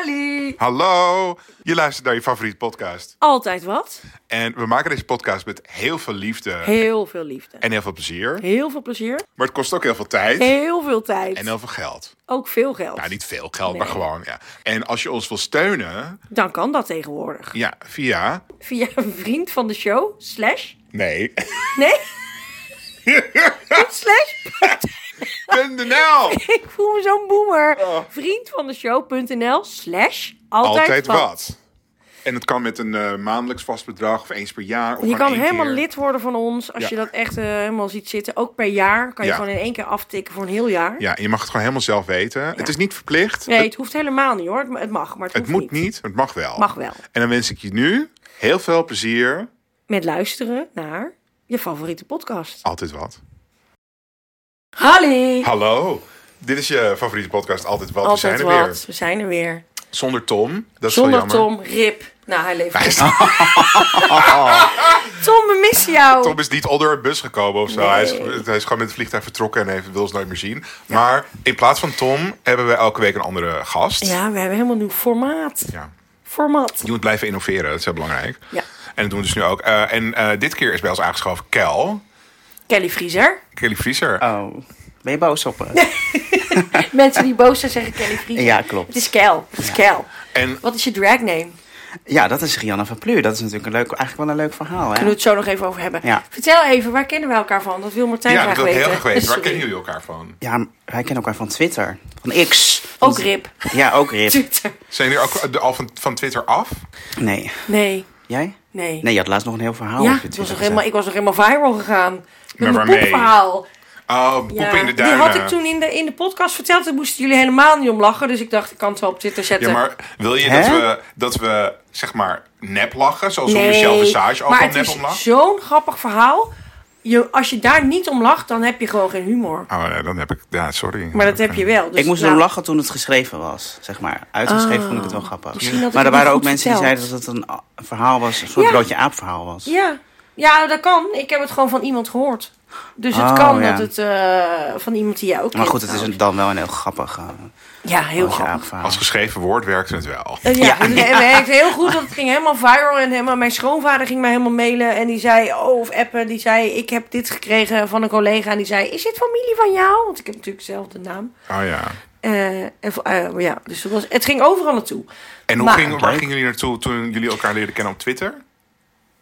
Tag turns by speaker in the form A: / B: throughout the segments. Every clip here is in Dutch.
A: Halli!
B: Hallo, je luistert naar je favoriete podcast.
A: Altijd wat.
B: En we maken deze podcast met heel veel liefde
A: Heel veel liefde.
B: en heel veel plezier.
A: Heel veel plezier.
B: Maar het kost ook heel veel tijd
A: Heel veel tijd.
B: en heel veel geld.
A: Ook veel geld.
B: Nou, niet veel geld, maar
A: Nee.
B: gewoon. Ja. En als je ons wil steunen,
A: Dan kan dat tegenwoordig.
B: ja, via.
A: Via een vriend van de show. Slash.
B: Nee.
A: Nee. Niet slash.
B: .nl.
A: Ik voel me zo'n boomer.
B: Oh.
A: Vriend van de show.nl. Slash. Altijd,
B: Altijd
A: wat.
B: wat. En het kan met een eh, maandelijks vast bedrag of eens per jaar. Of
A: Je
B: gewoon
A: kan
B: één
A: helemaal
B: keer.
A: lid worden van ons. Als
B: Ja.
A: je dat echt eh, helemaal ziet zitten. Ook per jaar. Kan je
B: Ja.
A: gewoon in één keer aftikken voor een heel jaar.
B: Ja, en je mag het gewoon helemaal zelf weten. Het is niet verplicht.
A: Nee,
B: het,
A: het hoeft helemaal niet hoor. Het ma- Het mag, maar het,
B: het
A: hoeft
B: moet niet, maar het mag wel.
A: Mag wel.
B: En dan wens ik je nu heel veel plezier.
A: Met luisteren naar je favoriete podcast.
B: Altijd wat.
A: Halli!
B: Hallo, dit is je favoriete podcast Altijd Wat.
A: Altijd
B: we zijn er
A: wat. We zijn er weer.
B: weer. Zonder Tom. Dat is wel
A: Zonder
B: jammer.
A: Tom, Rip. Nou, hij leeft.
B: Hij
A: nog.
B: is,
A: Tom, we missen jou.
B: Tom is niet onder een bus gekomen of zo.
A: Nee.
B: Hij, is, hij is gewoon met het vliegtuig vertrokken en heeft, wil ons nooit meer zien. Maar in plaats van Tom hebben we elke week een andere gast.
A: Ja, we hebben helemaal een nieuw formaat.
B: Ja.
A: Format.
B: Je moet blijven innoveren, dat is heel belangrijk.
A: Ja.
B: En dat doen we dus nu ook. Eh, en eh, dit keer is bij ons aangeschoven Kel,
A: Kelly Vriezer.
B: Kelly Vriezer.
C: Oh, ben je boos op me?
A: Mensen die boos zijn zeggen Kelly Vriezer.
C: Ja, klopt.
A: Het is Kel. Het is Kel.
B: En
A: Wat is je dragname?
C: Ja, dat is Rianne van Pluur. Dat is natuurlijk een leuk, eigenlijk wel een leuk verhaal,
A: Kunnen we
C: hè?
A: het zo nog even over hebben.
C: Ja.
A: Vertel even, waar kennen we elkaar van? Dat wil Martijn
B: ja, dat
A: graag
B: wil ik
A: weten.
B: heel graag weten. Waar
A: Sorry.
B: kennen jullie elkaar van?
C: Ja, wij kennen elkaar van Twitter. Van X.
A: Ook Rip.
C: Ja, ook Rip.
A: Twitter.
B: Zijn jullie ook eh, al van, van Twitter af?
C: Nee.
A: Nee,
C: Jij?
A: nee.
C: Nee, je had laatst nog een heel verhaal
A: ja,
C: op
A: het
C: je
A: was
C: Twitter
A: nog helemaal, ik was nog helemaal viral gegaan. Met
B: Maar
A: mijn
B: waarmee?
A: poepverhaal.
B: Oh, poepen
A: Ja,
B: in de
A: die
B: duinen.
A: had ik toen in de, in de podcast verteld. Daar moesten jullie helemaal niet om lachen. Dus ik dacht, ik kan het wel op Twitter zetten.
B: Ja, maar wil je
C: Hè?
B: dat we, dat we, zeg maar, nep lachen? Zoals
A: Nee,
B: Michel Visage ook
A: maar
B: al
A: het
B: nep
A: is
B: om lacht?
A: zo'n grappig verhaal. Je, als je daar niet om lacht, dan heb je gewoon geen humor.
B: Oh, nee, dan heb ik... Ja, sorry.
A: Maar dat heb je wel. Dus,
C: Ik moest
A: nou,
C: erom lachen toen het geschreven was, zeg maar. Uitgeschreven vond ik het wel
A: Oh, misschien
C: grappig.
A: had ik
C: Maar
A: het
C: er
A: niet
C: waren ook
A: goed
C: mensen
A: verteld.
C: die zeiden dat het een a- verhaal was, een soort
A: Ja.
C: broodje aap verhaal was.
A: Ja. ja, nou, dat kan. Ik heb het gewoon van iemand gehoord. Dus het
C: Oh,
A: kan
C: ja.
A: dat het eh, van iemand die jij ook
C: Maar
A: kent
C: goed, het is
A: trouwens.
C: een- dan wel een heel grappig eh,
A: Ja, heel
C: broodje
A: grappig.
C: aap verhaal.
B: Als geschreven woord werkt het wel.
A: Eh, Ja, het werkte heel goed. Want het ging helemaal viral. En helemaal, mijn schoonvader ging mij helemaal mailen. En die zei, oh, of appen. Die zei, ik heb dit gekregen van een collega. En die zei, is dit familie van jou? Want ik heb natuurlijk zelf de naam.
B: Oh ja.
A: Eh, en, vo- eh, ja, dus het, was, het ging overal naartoe.
B: En hoe
A: Maar-
B: ging, waar
C: Leuk.
B: gingen jullie naartoe toen jullie elkaar leren kennen op Twitter?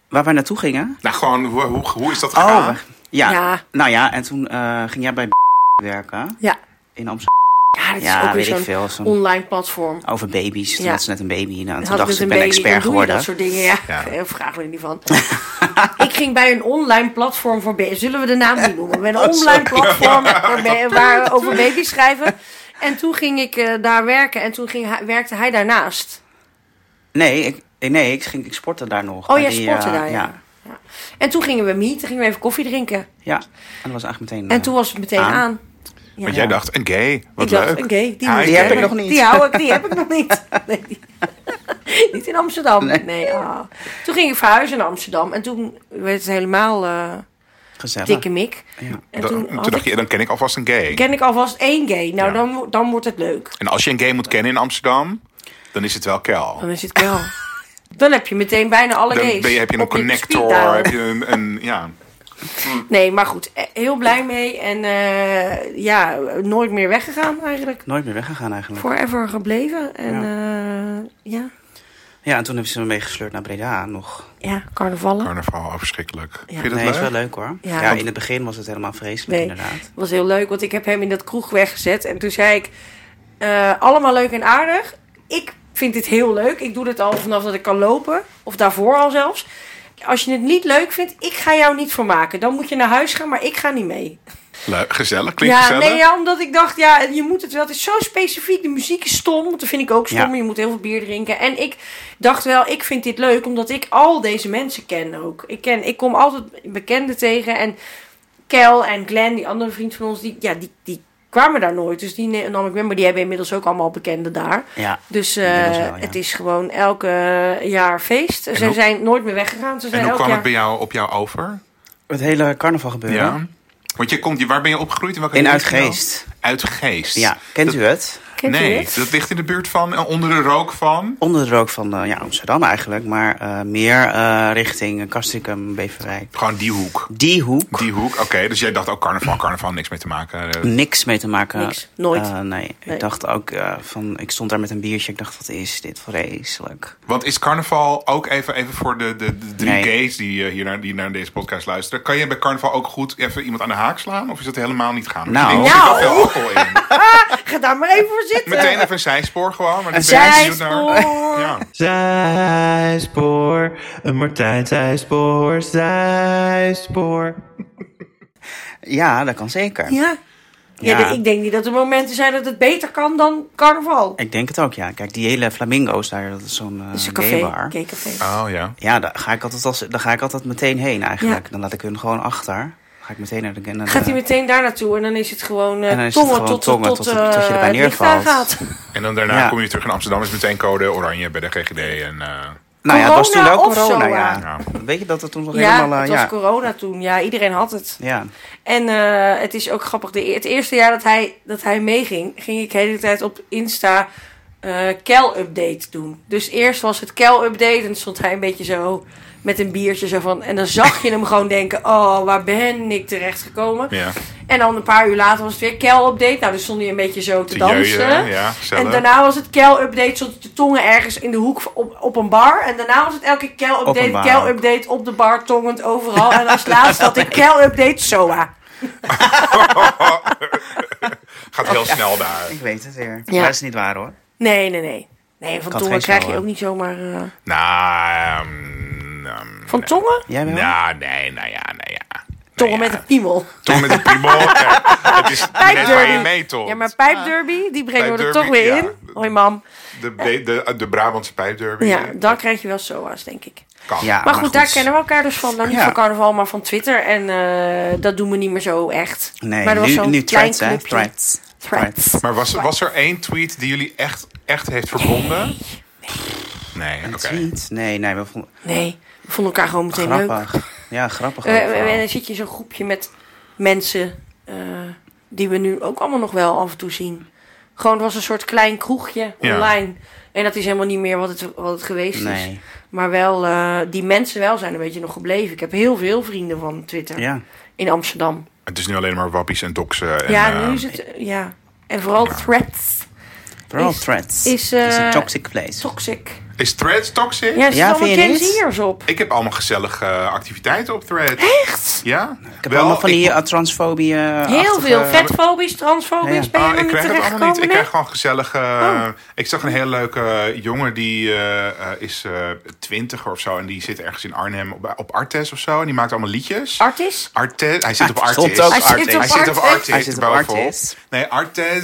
C: Waar wij naartoe gingen?
B: Nou, gewoon, hoe, hoe, hoe is dat
C: Oh,
B: gegaan?
C: we- ja.
A: Ja.
C: Nou ja, en toen eh, ging jij bij werken
A: Ja,
C: in Amsterdam.
A: ja dat is
C: Ja,
A: ook weer
C: weet ik
A: zo'n
C: veel. Zo'n
A: online platform.
C: Over baby's. Toen
A: Ja. dus
C: had ze net een baby. Nou,
A: En
C: toen dacht
A: het
C: ze, ik ben
A: dan
C: expert
A: doe je
C: geworden.
A: dat soort dingen. Ja,
B: Ja.
A: Eh, vraag me er niet van. ik ging bij een online platform voor baby's. Zullen we de naam niet noemen?
B: Oh,
A: Bij een online platform waar, ba- waar over baby's schrijven. En toen ging ik eh, daar werken en toen ging hij, werkte hij daarnaast.
C: Nee, ik, nee ik, ging, ik sportte daar nog.
A: Oh,
C: Bij
A: jij
C: die,
A: sportte
C: eh,
A: daar, ja.
C: Ja.
A: Ja. En toen gingen we meeten, gingen we even koffie drinken.
C: Ja. En dat was eigenlijk meteen...
A: En
C: eh,
A: toen was het meteen aan.
C: Aan.
A: Ja.
B: Want jij dacht, een gay. Wat
A: ik
B: leuk.
A: dacht, oké, die,
B: Ah,
A: moet
B: die heb
A: hebben.
B: ik
C: nog niet.
A: Die hou ik, die heb ik nog niet. Nee, die- niet in Amsterdam. Nee. ah. Toen ging ik verhuizen naar Amsterdam en toen werd het helemaal eh,
C: Gezellig.
A: dikke mik.
C: Ja.
A: En
B: Dan-
A: toen,
B: toen
A: had
B: dacht
A: ik,
B: je, dan ken ik alvast een gay.
A: ken ik alvast één gay. Nou,
B: Ja.
A: dan, dan wordt het leuk.
B: En als je een gay moet kennen in Amsterdam, dan is het wel Kel.
A: Dan is het wel. dan heb je meteen bijna alle
B: Dan
A: gays.
B: ben je, heb je een
A: op
B: connector,
A: speeddial.
B: heb je een, een ja.
A: Nee, maar goed, eh, heel blij mee. En eh, ja, nooit meer weggegaan eigenlijk.
C: Nooit meer weggegaan eigenlijk.
A: Forever gebleven. En eh, ja.
C: Ja, en toen hebben ze me meegesleurd naar Breda nog.
A: ja, carnavallen.
B: carnaval, oh, verschrikkelijk. Vind je dat
C: nee, is
B: leuk?
C: wel leuk hoor.
A: Ja.
C: Ja. in het begin was het helemaal vreselijk
A: Nee,
C: inderdaad.
A: was heel leuk, want ik heb hem in dat kroeg weggezet. En toen zei ik, eh, allemaal leuk en aardig. Ik vind dit heel leuk. Ik doe dit al vanaf dat ik kan lopen. Of daarvoor al zelfs. Als je het niet leuk vindt, ik ga jou niet vermaken. Dan moet je naar huis gaan, maar ik ga niet mee.
B: Leuk, gezellig, klinkt
A: ja,
B: gezellig.
A: Nee, ja, omdat ik dacht, ja, je moet het wel. Het is zo specifiek. De muziek is stom. want Dat vind ik ook stom.
C: Ja.
A: Je moet heel veel bier drinken. En ik dacht wel, ik vind dit leuk, omdat ik al deze mensen ken ook. Ik, ken, ik kom altijd bekenden tegen. En Kel en Glenn, die andere vriend van ons, die, ja, die, die kwamen daar nooit. Dus die ne- nam ik mee. Maar die hebben inmiddels ook allemaal bekenden daar.
C: Ja.
A: Dus eh,
C: Inmiddels wel, ja.
A: het is gewoon elke jaar feest. Ze
B: hoe-
A: zijn nooit meer weggegaan. Ze zijn
B: En hoe
A: elk
B: kwam
A: jaar...
B: het bij jou, op jou over?
C: Het hele carnaval gebeuren.
B: Ja. Want je komt, waar ben je opgegroeid? In, welke
C: In
B: regio?
C: Uitgeest.
B: Uitgeest.
C: Ja, kent
B: Dat-
C: u het?
A: Kent u
B: Nee,
A: dit?
B: dat ligt in de buurt van, eh, onder de rook van.
C: Onder de rook van eh, ja, Amsterdam eigenlijk, maar eh, meer eh, richting eh, Castricum, Beverwijk.
B: Gewoon die hoek.
C: Die hoek,
B: Die hoek, oké. Dus jij dacht ook carnaval, carnaval, niks mee te maken. Eh,
C: niks mee te maken.
A: Niks, nooit.
C: Eh, nee.
A: Nee.
C: ik dacht ook eh, van, ik stond daar met een biertje, ik dacht, wat is dit vreselijk.
B: Want is carnaval ook even, even voor de, de, de drie
C: Nee.
B: gays die eh, hier naar, die naar deze podcast luisteren. Kan je bij carnaval ook goed even iemand aan de haak slaan? Of is dat helemaal niet gaan?
C: Nou.
B: Ik denk, er zit wel
A: Nou.
B: veel alcohol in.
A: Ga daar maar even voor zitten.
B: Meteen even een zijspoor gewoon. Maar
C: Een
B: ik ben heel benieuwd naar-
A: zijspoor.
B: Ja.
D: Zijspoor, een Martijn zijspoor, zijspoor.
C: Ja, dat kan zeker.
A: Ja. Ja,
C: Ja.
A: de- ik denk niet dat er momenten zijn dat het beter kan dan carnaval.
C: Ik denk het ook, ja. Kijk, die hele flamingo's daar, dat is zo'n eh
A: Dat is een
C: gaybar.
A: café. Gaycafé.
B: Oh ja.
C: Ja, daar ga, ik altijd als, daar ga ik altijd meteen heen eigenlijk.
A: Ja.
C: Dan laat ik hun gewoon achter. Dan Ga ik meteen naar de... Naar de-
A: Gaat hij meteen daar naartoe en dan is het gewoon eh,
C: En dan is het
A: tongen
C: gewoon
A: tot,
C: tongen
A: tot,
C: tot- tot je
A: eh,
C: erbij
A: het licht
C: neervalt.
A: aangaat.
B: En dan daarna
C: Ja.
B: kom je terug in Amsterdam. Is meteen code oranje bij de GGD. En, eh,
C: nou ja, het was toen
A: corona
C: ook
A: of
C: corona,
A: zo, eh?
C: ja.
B: ja.
C: Weet je dat het toen nog
A: Ja,
C: helemaal... eh,
A: het was
C: ja.
A: corona toen. Ja, iedereen had het.
C: ja.
A: En eh, het is ook grappig. De, e- het eerste jaar dat hij, dat hij meeging, ging ik de hele tijd op Insta eh Kel-update doen. Dus eerst was het Kel-update en dan stond hij een beetje zo met een biertje zo van... En dan zag je hem gewoon denken, oh, waar ben ik terechtgekomen?
B: ja.
A: En dan een paar uur later was het weer Kel-update. Nou, dan stond hij een beetje zo te,
B: Te
A: dansen.
B: jeuien, ja,
A: En
B: zelf.
A: daarna was het Kel-update, stond de tongen ergens in de hoek op, op een bar. En daarna was het elke keer
C: Op een
A: Kel-update,
C: bar
A: Kel-update op de bar, tongend overal. En als laatste had ik Kel-update, SOA.
B: Gaat
A: Oh,
B: heel snel daar.
C: Ik weet het weer.
A: Ja.
C: Maar dat is niet waar hoor.
A: Nee, nee, nee. Nee, van
C: Kan
A: tongen
C: geen
A: krijg je
C: SOA.
A: ook niet zomaar... eh,
B: Nou, ehm, ehm,
A: van tongen?
C: Jij wel?
B: nou, nee, nou ja, nou ja.
A: Tongen
B: Nou
A: met
B: ja.
A: een piemel.
B: Tong met een piemel. Ja, Het is net waar je
A: Pijpderby.
B: mee, toch?
A: Ja, maar pijpderby, die brengen we er
B: Pijpderby,
A: toch weer
B: ja.
A: in. Hoi mam.
B: De, de, de, de Brabantse pijpderby.
A: Ja, dan krijg je wel SOA's, denk ik.
B: Kan.
C: Ja,
A: Maar, goed, daar kennen we elkaar dus van. Nou, niet
C: Ja.
A: van carnaval, maar van Twitter. En eh, dat doen we niet meer zo echt.
C: Nee,
A: maar
C: nu,
A: zo'n
C: nu
A: klein
C: threads, hè.
A: clubje.
C: Threads.
A: Threads.
B: Maar was, was er één tweet die jullie echt, echt heeft verbonden? Nee, oké.
C: Tweet. Nee, nee, we vonden...
A: Nee, we vonden elkaar gewoon meteen leuk.
C: Grappig. Ja, grappig.
A: Eh,
C: ook
A: en- en
C: vooral.
A: dan zit je in zo'n groepje met mensen eh, die we nu ook allemaal nog wel af en toe zien. Gewoon, het was een soort klein kroegje
B: Ja.
A: online. En dat is helemaal niet meer wat het, wat het geweest is.
C: Nee.
A: Maar wel, eh, die mensen wel zijn een beetje nog gebleven. Ik heb heel veel vrienden van Twitter
C: Ja.
A: in Amsterdam.
B: Het is nu alleen maar wappies en doksen. En,
A: ja, nu
B: eh,
A: is het... eh, ja. En vooral threads.
C: Vooral
A: Is-
C: threats.
A: is,
C: Het is
A: eh,
C: een toxic place.
A: Toxic.
B: Is Threads
A: Ja,
B: toxic?
A: er zitten
C: Ja,
A: allemaal
C: vind je
A: Gen
C: niet?
A: Z'ers op.
B: Ik heb allemaal gezellige eh, activiteiten op Threads.
A: Echt?
B: Ja?
C: Ik heb allemaal van die eh, transfobie... eh,
A: Heel
C: achtige-
A: veel. Vetfobisch, transfobisch.
C: Ja.
A: Ben je nog
B: Ah, ik
A: niet
B: krijg het allemaal
A: terechtgekomen? Oh.
B: niet. Ik
A: hè?
B: krijg gewoon gezellige... Ik zag een hele leuke jongen die eh, eh, is eh twintiger of zo. En die zit ergens in Arnhem op, op Artes of zo. En die maakt allemaal liedjes.
A: Artis?
B: Arte, hij zit op
C: Ah,
B: Artis.
C: stond ook
A: Hij zit
C: Artis.
A: op
B: Hij zit op
A: Artis.
B: Artis.
C: Hij zit op
B: bovenop.
C: Artis.
B: Nee, Artes,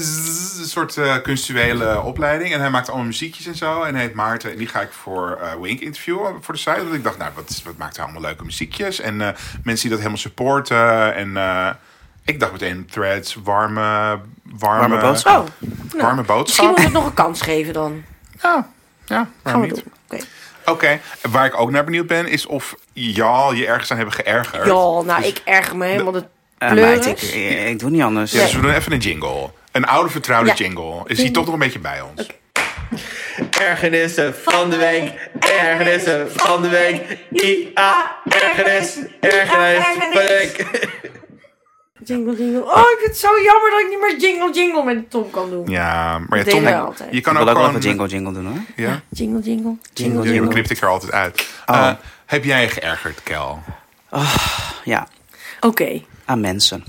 B: een soort eh, kunstuele opleiding. En hij maakt allemaal muziekjes en zo. En hij heet Maarten. En die ga ik voor eh, Wink interviewen voor de site. Want ik dacht, nou, wat, is- wat maakt hij allemaal leuke muziekjes? En eh, mensen die dat helemaal supporten. En eh, ik dacht meteen, threads, warme... Warme,
C: Warme boodschap.
A: Oh,
B: Warme
A: misschien
B: boodschap.
A: moeten we het nog een kans geven dan.
B: Ja, ja,
A: Gaan
B: waarom
A: we
B: niet?
A: doen. Oh, Oké.
B: Oké, waar ik ook naar benieuwd ben, is of jou je ergens aan hebben geërgerd. Dus
A: Ja, nou, ik erg me helemaal de
C: Eh, meid,
A: pleuris.
C: ik, ik, ik doe niet anders.
B: Ja, dus we doen even een jingle. Een oude vertrouwde
A: Ja. Mm.
B: jingle. Is die toch nog een beetje bij ons?
D: Ergernissen van de week, ergernissen van de week. I-A, ergernis, ergernis van de week.
A: Jingle, jingle. Oh, ik vind het zo jammer dat ik niet meer jingle, jingle met Tom kan doen.
B: Ja, maar ja,
A: Dat deden we
B: Tom,
A: altijd.
B: je kan ook
C: Ik wil ook wel
B: gewoon...
C: wat jingle jingle doen hoor.
B: Ja,
A: Jingle, jingle.
C: Jingle
B: die
C: jingle. Oh.
B: knipte ik er altijd uit. Eh, heb jij je geërgerd, Kel?
C: Ja,
A: Oké.
C: aan mensen.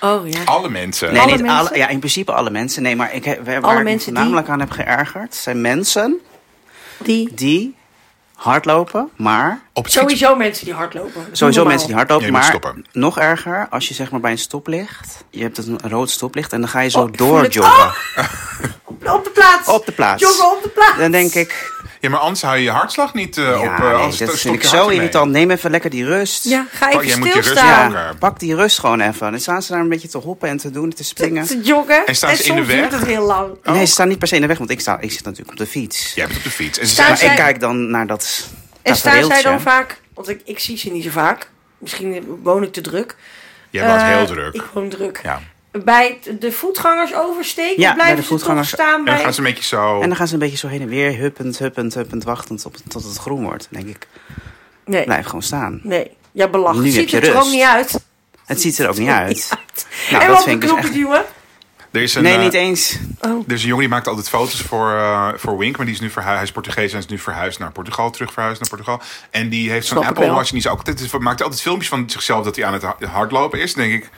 A: Oh ja.
B: Alle mensen.
C: Nee,
A: Alle
C: niet
A: mensen?
C: alle. Ja, in principe alle mensen. Nee, maar ik, heb- waar
A: Alle
C: ik me
A: mensen die-
C: voornamelijk aan heb geërgerd zijn mensen
A: Die.
C: die hardlopen, maar
B: Op het fiets-
A: Sowieso mensen die hardlopen. Dat is
C: Sowieso
A: normaal.
C: mensen die hardlopen,
B: Ja, je moet
C: maar
B: stoppen.
C: nog erger als je zeg maar bij een stoplicht, je hebt een rood stoplicht en dan ga je zo
A: Oh, ik voel het. Oh!
C: doorjoggen
A: Op de plaats.
C: op de plaats.
A: Joggen op de plaats.
C: Dan denk ik,
B: Ja, maar anders hou je je hartslag niet eh,
C: ja,
B: op... eh,
C: nee,
B: anders
C: dat
B: stop
C: vind
B: je
C: ik zo
B: hart ermee.
C: irritant. Neem even lekker die rust.
A: Ja, ga
B: Oh,
A: even
B: jij moet je rust
A: stilstaan.
B: maken.
C: pak die rust gewoon even. Dan staan ze daar een beetje te hoppen en te doen, te springen.
A: te joggen.
B: En staan ze in
A: soms
B: de weg? Oh.
A: duurt het heel lang.
C: Nee, ze staan niet per se in de weg, want ik, sta, ik zit natuurlijk op de fiets.
B: Jij bent op de fiets. En ze
A: Staan
B: zijn
A: zij-
C: Maar ik kijk dan naar dat
A: En staan zij
C: tafereeltje.
A: dan vaak... Want ik, ik zie ze niet zo vaak. Misschien woon ik te druk.
B: Jij was
A: Eh,
B: heel druk.
A: Ik woon druk.
B: Ja.
A: bij t- de voetgangers oversteken,
C: Ja,
A: blijven
C: bij de
A: ze toch
C: voetgangers.
A: staan
B: En dan
A: bij...
B: gaan ze een beetje zo.
C: En dan gaan ze een beetje zo heen en weer, huppend, huppend, huppend, wachtend op, tot het groen wordt. Dan denk ik,
A: Nee,
C: blijf gewoon staan.
A: nee. Ja, belachelijk.
C: Nu
A: Ziet
C: heb je
A: het er ook
C: rust.
A: niet uit.
C: Het ziet er ook niet uit.
A: En
C: Nou,
A: en
C: dat
A: op de
C: vind ik dus
A: knoppen
C: echt-
A: duwen.
B: Er is een,
C: Nee,
B: eh,
C: niet eens.
A: Oh.
B: er is Dus een jongen die maakt altijd foto's voor, eh, voor Wink. Maar die is nu verhuisd. Hij is Portugees en is nu verhuisd naar Portugal. Terug verhuisd naar Portugal. En die heeft zo'n
A: Snap ik
B: Apple
A: wel.
B: Watch. En die is ook altijd, maakt altijd filmpjes van zichzelf dat hij aan het ha- hardlopen is. Dan denk ik,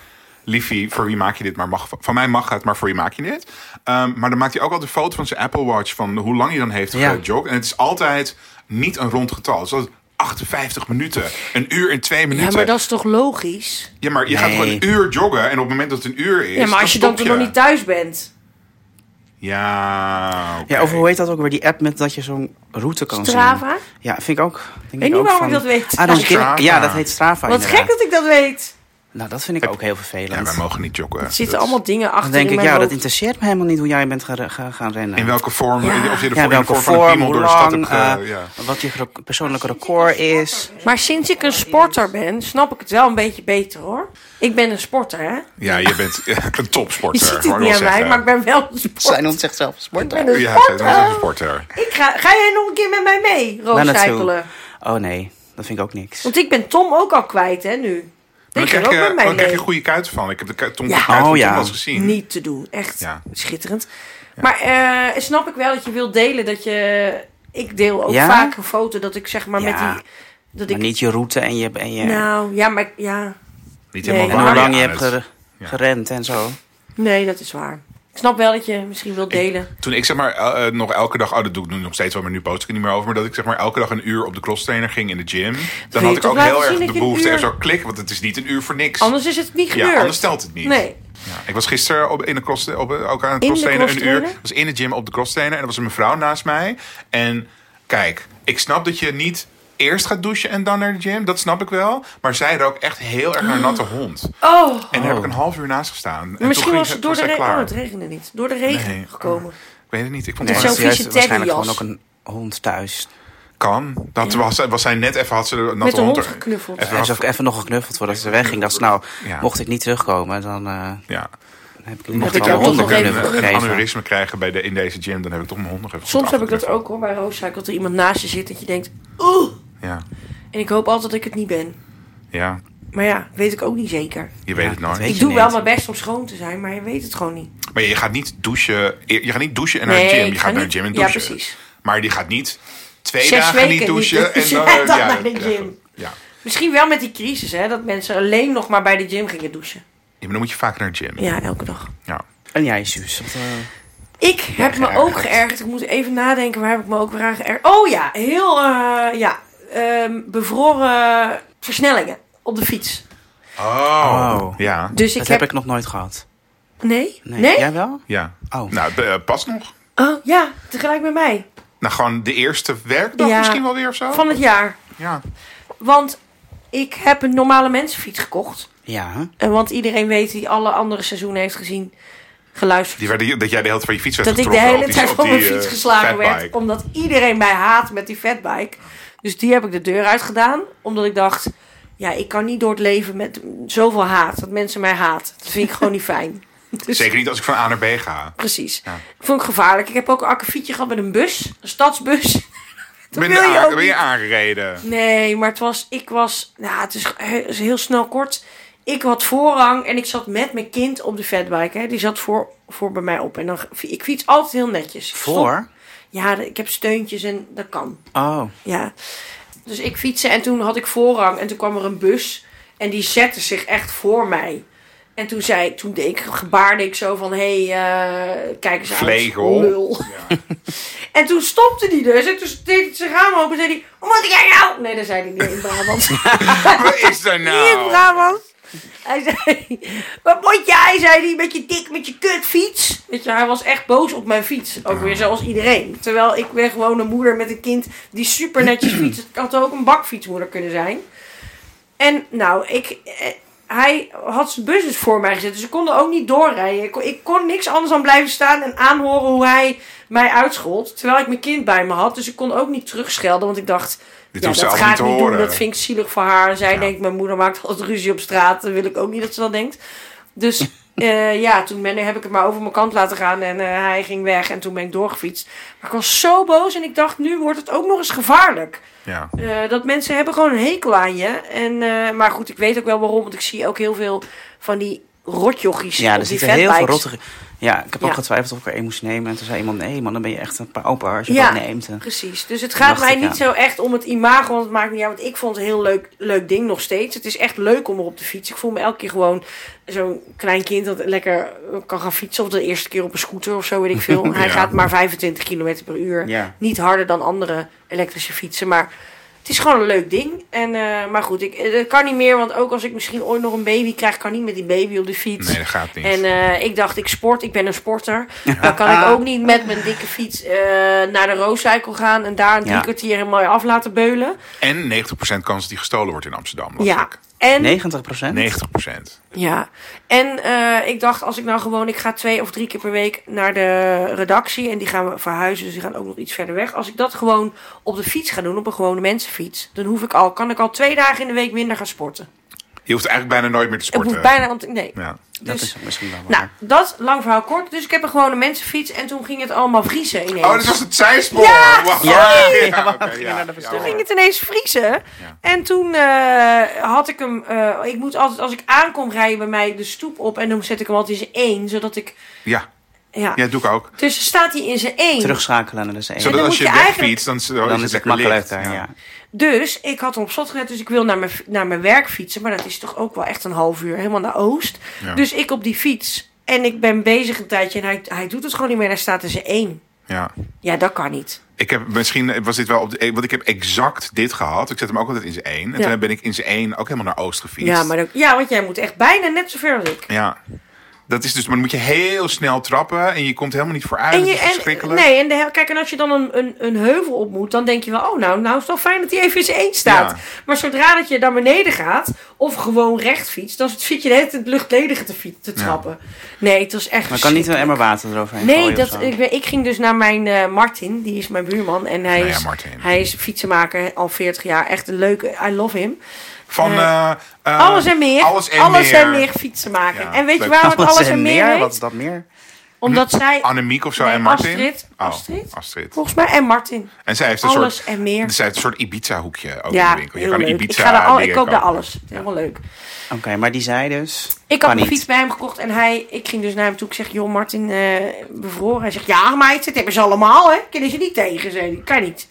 B: liefie, voor wie maak je dit? Maar mag, van mij mag het, maar voor wie maak je dit? Ehm, maar dan maakt hij ook altijd een foto van zijn Apple Watch. Van hoe lang hij dan heeft
C: Ja.
B: gejogd. En het is altijd niet een rond getal. Dus dat is 58 minuten. Een uur en twee minuten.
A: Ja, maar dat is toch logisch?
B: Ja, maar je gaat
C: Nee.
B: gewoon een uur joggen en op het moment dat het een uur is.
A: Ja, maar als je dan
B: stop
A: toch nog niet thuis bent.
B: Ja, oké.
C: Ja, over hoe heet dat ook weer? Die app met dat je zo'n route kan
A: Strava?
C: zien. Ja, vind ik ook. Denk
A: niet waarom
C: ook van- Ah,
A: ik dat weet.
C: I don't care.
B: Strava.
C: Ja, dat heet Strava
A: Wat
C: Oh, inderdaad.
A: gek dat ik dat weet.
C: Nou, dat vind ik ook heel
B: Ja,
C: vervelend.
B: wij mogen niet joggen.
A: Er zitten
B: Dat-
A: allemaal dingen achter
C: dan denk
A: in
C: ik,
A: mijn
C: ja, dat
A: hoofd.
C: interesseert me helemaal niet hoe jij bent gaan, gaan, gaan rennen.
B: In welke vorm? Of je de
C: ja,
B: vorm, in de
C: welke
B: vorm van een
C: vorm,
B: piemel
C: hoe
B: door de stad
C: lang,
B: hebt. ge-
C: eh,
B: ja.
C: wat je gero- persoonlijke record is.
A: Maar sinds ik een sporter ben, snap ik het wel een beetje beter hoor. Ik ben een sporter, hè?
B: ja, je bent een
A: Je
B: topsporter.
A: ziet
B: wou
A: het niet
B: ik wel
A: aan mij,
B: zeggen.
A: maar ik ben wel een sporter.
C: Zijn ons zichzelf
A: Ik
C: sporten.
A: ben een
B: eh, Ja, zij is
A: sporter.
B: wel een sporter.
A: Ik ga, ga jij nog een keer met mij mee,
C: Waar naartoe?
A: roofcyclen?
C: Oh nee, dat vind ik ook niks.
A: Want ik ben Tom ook al kwijt, hè, nu.
B: Dan
A: Ik
B: krijg,
A: kan ook
B: je,
A: met mij
B: dan krijg je
A: mee.
B: goede kuiten van. Ik heb de ku- Tom
A: Ja.
B: de kuiten van
C: Oh, ja.
B: Tom wel eens gezien.
A: Niet te doen, echt
B: Ja.
A: schitterend. Maar eh, snap ik wel dat je wilt delen dat je... Ik deel ook
C: Ja?
A: vaak een foto dat ik zeg maar met
C: Ja.
A: die... Dat
C: Maar
A: ik,
C: niet je route en je... En je
A: Nou, ja, maar ik- ja.
B: Niet
A: Nee.
B: helemaal
C: en hoe
B: waar
C: lang je
B: aan
C: hebt
B: het-
C: gere- gerend en zo.
A: Nee, dat is waar. Ik snap wel dat je misschien wilt delen.
B: Toen ik zeg maar eh, eh, nog elke dag, oh dat doe ik nu nog steeds wel, maar nu post ik er niet meer over. Maar dat ik zeg maar elke dag een uur op de cross trainer ging in de gym. Dan
A: je
B: had ik
A: toch
B: ook
A: laten
B: heel
A: zien
B: erg
A: dat
B: de
A: je een
B: behoefte
A: uur-
B: en zo klik. Want het is niet een uur voor niks.
A: Anders is het niet gebeurd.
B: ja, anders stelt het niet.
A: Nee.
B: Ja, ik was gisteren op, in de cross, op, eh, ook aan het
A: de
B: crosstrainen een uur.
A: crosstrainer?
B: Ik was in de gym op de crosstrainer en er was een mevrouw naast mij. En kijk, ik snap dat je niet eerst gaat douchen en dan naar de gym. Dat snap ik wel. Maar zij rook echt heel erg naar een natte hond. En
A: Oh,
B: daar heb ik een half uur naast gestaan. En
A: misschien
B: toen ging
A: was
B: ze-
A: het door de
B: zij
A: regen.
B: klaar.
A: Oh, het regende niet. Door de regen
B: Nee.
A: gekomen.
B: Ik weet het niet. Ik vond
C: Nee,
B: het
A: zo'n
B: wel-
C: dat
A: vieze
C: dus juist
A: teddyjas.
C: waarschijnlijk gewoon ook een hond thuis.
B: kan. Dat was, was zij net even, had ze de natte
A: Met de hond
B: er-
A: geknuffeld.
B: even
C: Hij is
B: af-
C: ook even nog geknuffeld voordat ze wegging. Dat ze nou,
B: Ja.
C: mocht ik niet terugkomen, dan eh,
B: Ja.
C: heb ik
A: Heb ik
C: nog wel
A: jou
C: een
A: toch
C: hond nog
A: nog
B: een,
A: even
C: knuffel
B: een
C: gegeven.
B: aneurysme krijgen bij de, in deze gym, dan heb ik toch mijn hond nog even
A: Soms
B: goed
A: heb ik dat
B: afgeknuffeld.
A: ook hoor bij Rooszaak. Dat er iemand naast je zit dat je denkt... Oeh.
B: Ja.
A: En ik hoop altijd dat ik het niet ben.
B: ja,
A: Maar ja, weet ik ook niet zeker.
B: je weet
C: Ja,
B: het
C: dat
B: nooit.
C: weet
A: Ik
C: je
A: doe wel
C: niet.
A: mijn best om schoon te zijn, maar je weet het gewoon niet.
B: Maar je gaat niet douchen. Je gaat niet douchen en naar
A: Nee,
B: de gym. Je
A: ik
B: gaat
A: ga
B: naar
A: niet-
B: de gym en
A: ja,
B: douchen.
A: precies.
B: Maar die gaat niet twee
A: Zes
B: dagen niet
A: weken
B: douchen,
A: niet douchen
B: eh,
A: en dan naar de
B: ja,
A: gym.
B: Ja.
A: Misschien wel met die crisis, hè. Dat mensen alleen nog maar bij de gym gingen douchen.
B: Ja, maar dan moet je vaak naar de gym.
A: Ja, elke dag.
B: Ja.
C: En jij, Suus? wat, eh,
A: Ik heb me
C: geërgerd.
A: ook geërgerd. Ik moet even nadenken waar heb ik me ook weer aan geërgerd. Oh ja, heel eh, ja, ehm, bevroren versnellingen op de fiets.
B: Oh.
C: Oh.
B: Ja.
A: Dus ik
C: dat
A: heb...
C: heb... ik nog nooit gehad.
A: Nee?
C: Nee.
A: Nee?
C: Jij wel?
B: Ja.
C: Oh.
B: Nou, be- eh, pas nog.
A: Oh ja, tegelijk met mij.
B: Nou, gewoon de eerste werkdag
A: Ja.
B: misschien wel weer of zo.
A: Van het jaar.
B: Ja.
A: Want ik heb een normale mensenfiets gekocht.
C: Ja, hè?
A: En want iedereen weet die alle andere seizoenen heeft gezien, geluisterd.
B: Die werden, dat jij de hele tijd van je fiets werd
A: dat ik de
B: getrokken op
A: hele
B: die-
A: tijd
B: op
A: van
B: die,
A: mijn fiets
B: eh,
A: geslagen
B: fatbike.
A: werd. Omdat iedereen mij haat met die fatbike. Dus die heb ik de deur uit gedaan. Omdat ik dacht, ja, ik kan niet door het leven met zoveel haat. Dat mensen mij haat. Dat vind ik gewoon niet fijn. Dus,
B: Zeker niet als ik van A naar B ga.
A: Precies.
B: Ja.
A: Vond ik gevaarlijk. Ik heb ook een akkefietje gehad met een bus. Een stadsbus. Dat
B: Ben
A: wil je
B: je,
A: ook
B: ben je
A: niet.
B: aangereden?
A: Nee, maar het was, ik was, nou, het is, he- is heel snel kort. Ik had voorrang en ik zat met mijn kind op de fatbike. Hè. Die zat voor, voor bij mij op. En dan, ik fiets altijd heel netjes. Ik stop-
C: Voor?
A: ja, de- ik heb steuntjes en dat kan.
C: Oh.
A: Ja. Dus ik fietsen en toen had ik voorrang en toen kwam er een bus en die zette zich echt voor mij. En toen zei toen deed ik, gebaarde ik zo van, hé, hey, eh, kijk eens
B: Vlegel.
A: uit, lul. en toen stopte die dus en toen deed hij zijn raam open en zei hij, hoe moet ik jij nou? Nee, dat zei hij niet in Brabant.
B: Wat is er
A: Niet in
B: nou?
A: Brabant. Hij zei, wat moet jij, zei hij, met je dik, met je kutfiets. Weet je, hij was echt boos op mijn fiets. Ook weer zoals iedereen. Terwijl ik ben gewoon een moeder met een kind die super netjes fietst. Het had ook een bakfietsmoeder kunnen zijn. En nou, ik, eh, hij had zijn bus dus voor mij gezet. Dus ik kon er ook niet doorrijden. Ik kon, ik kon niks anders dan blijven staan en aanhoren hoe hij mij uitschold. Terwijl ik mijn kind bij me had. Dus ik kon ook niet terugschelden. Want ik dacht,
B: Dit
A: ja,
B: hoeft ze
A: dat
B: allemaal
A: ga ik
B: niet te
A: niet doen.
B: horen.
A: Dat vind ik zielig voor haar. En zij
B: Ja.
A: denkt, mijn moeder maakt altijd ruzie op straat. Dan wil ik ook niet dat ze dat denkt. Dus Eh, ja, toen ben, heb ik het maar over mijn kant laten gaan en eh, hij ging weg en toen ben ik doorgefietst. Maar ik was zo boos en ik dacht, nu wordt het ook nog eens gevaarlijk.
B: Ja.
A: Eh, dat mensen hebben gewoon een hekel aan je. En, eh, maar goed, ik weet ook wel waarom, want ik zie ook heel veel van die rotjochies
C: Ja,
A: op
C: er
A: die
C: zitten heel veel
A: fatbikes.
C: rottige... Ja, ik heb
A: Ja.
C: ook getwijfeld of ik er één moest nemen. En toen zei iemand, nee man, dan ben je echt een pauper als je
A: Ja.
C: dat neemt. En-
A: Precies. Dus het gaat
C: Dacht
A: mij
C: ik, ja.
A: niet zo echt om het imago, want het maakt niet uit. Want ik vond het een heel leuk, leuk ding nog steeds. Het is echt leuk om erop te fietsen. Ik voel me elke keer gewoon zo'n klein kind dat lekker kan gaan fietsen. Of de eerste keer op een scooter of zo, weet ik veel. Hij
B: Ja.
A: gaat maar 25 km per uur.
C: Ja.
A: Niet harder dan andere elektrische fietsen, maar... Het is gewoon een leuk ding. En, eh, maar goed, ik, eh, dat kan niet meer. Want ook als ik misschien ooit nog een baby krijg, kan niet met die baby op de fiets.
B: Nee, dat gaat niet.
A: En eh, ik dacht, ik sport, ik ben een sporter. Dan kan ik ook niet met mijn dikke fiets eh, naar de Rooscycle gaan en daar een drie
C: Ja.
A: kwartier helemaal af laten beulen.
B: En 90% kans dat die gestolen wordt in Amsterdam. las
A: Ja.
B: ik.
A: En,
C: 90 procent?
B: 90%.
A: ja. en eh, ik dacht, als ik nou gewoon, ik ga twee of drie keer per week naar de redactie en die gaan we verhuizen, dus die gaan ook nog iets verder weg. Als ik dat gewoon op de fiets ga doen, op een gewone mensenfiets, dan hoef ik al, kan ik al twee dagen in de week minder gaan sporten.
B: Je hoeft eigenlijk bijna nooit meer te
A: Ik
B: sporten.
A: hoef bijna, want nee.
B: Ja.
C: Dat
A: Dus-
C: is misschien wel waar.
A: Nou, dat lang verhaal kort. Dus ik heb een gewone mensenfiets en toen ging het allemaal vriezen ineens.
B: Oh, dit was het zijspoor.
A: Ja,
B: Wow.
C: Ja,
B: oké, ja,
C: naar de
B: ja,
C: verstoring.
A: Toen ging het ineens vriezen.
B: Ja.
A: En toen eh, had ik hem. eh, ik moet altijd, als ik aankom, rijden bij mij de stoep op. En dan zet ik hem altijd in zijn één. Zodat ik.
B: Ja,
A: Ja.
B: ja, doe ik ook.
A: Dus staat hij in zijn één.
C: Terugschakelen naar de zee.
A: dan
B: Zodat
A: moet
B: als je
A: je
B: wegfietst,
A: eigenlijk-
B: dan,
C: Dan is het
B: oh, lekker licht.
C: makkelijker, ja.
A: Dus ik had hem op slot gezet. Dus ik wil naar mijn, naar mijn werk fietsen. Maar dat is toch ook wel echt een half uur. Helemaal naar Oost.
B: Ja.
A: Dus ik op die fiets. En ik ben bezig een tijdje. En hij, hij doet het gewoon niet meer. En hij staat in zijn één.
B: Ja.
A: Ja, dat kan niet.
B: Ik heb misschien eh, was dit wel op de, want ik heb exact dit gehad. Ik zet hem ook altijd in zijn één. En
A: Ja.
B: toen ben ik in zijn één ook helemaal naar Oost gefietst.
A: Ja, maar dat- ja, want jij moet echt bijna net zo ver als ik.
B: Ja. Dat is dus, maar dan moet je heel snel trappen en je komt helemaal niet vooruit.
A: En
B: dat
A: je,
B: is
A: en,
B: verschrikkelijk.
A: nee, en de, he- kijk, en als je dan een, een, een heuvel op moet, dan denk je wel, oh nou, nou is het wel fijn dat hij even in zijn één staat.
B: Ja.
A: Maar zodra dat je naar beneden gaat, of gewoon recht fietst, dan zit je de hele tijd in het luchtledige te, fiet- te trappen. Nee, het was echt
C: Maar kan niet een emmer
A: verschrikkelijk.
C: water eroverheen
A: Nee,
C: gooien of
A: dat,
C: zo?
A: ik, ben- ik ging dus naar mijn eh, Martin, die is mijn buurman. En hij,
B: Nou ja,
A: is,
B: Martin.
A: hij is fietsenmaker al 40 jaar. Echt een leuke, I love him.
B: Van eh, eh,
A: Alles en meer.
B: Alles en meer.
A: fietsenmaker.
B: Ja,
A: en weet je
B: leuk.
A: waarom het alles en meer
C: Wat is
A: heet?
C: dat meer?
A: Omdat zij,
B: Annemiek of zo
A: Nee,
B: en Martin.
A: Astrid.
B: Oh,
A: Astrid.
B: Astrid.
A: volgens mij, en Martin.
B: En zij heeft een
A: Alles
B: soort,
A: en meer.
B: Zij heeft een soort Ibiza hoekje ook in
A: Ja,
B: de winkel. Je
A: heel
B: kan
A: leuk. Ik,
B: Ibiza
A: ga daar al, ik
B: dingen
A: koop daar
B: kopen.
A: alles. Helemaal leuk.
C: Oké, maar die zei dus...
A: Ik
C: kan
A: had een
C: niet.
A: fiets bij hem gekocht en hij, ik ging dus naar hem toe. Ik zeg, joh Martin, eh, bevroren. Hij zegt, ja meid, dit hebben ze allemaal hè. Kunnen ze niet tegen, zei hij. Kan niet.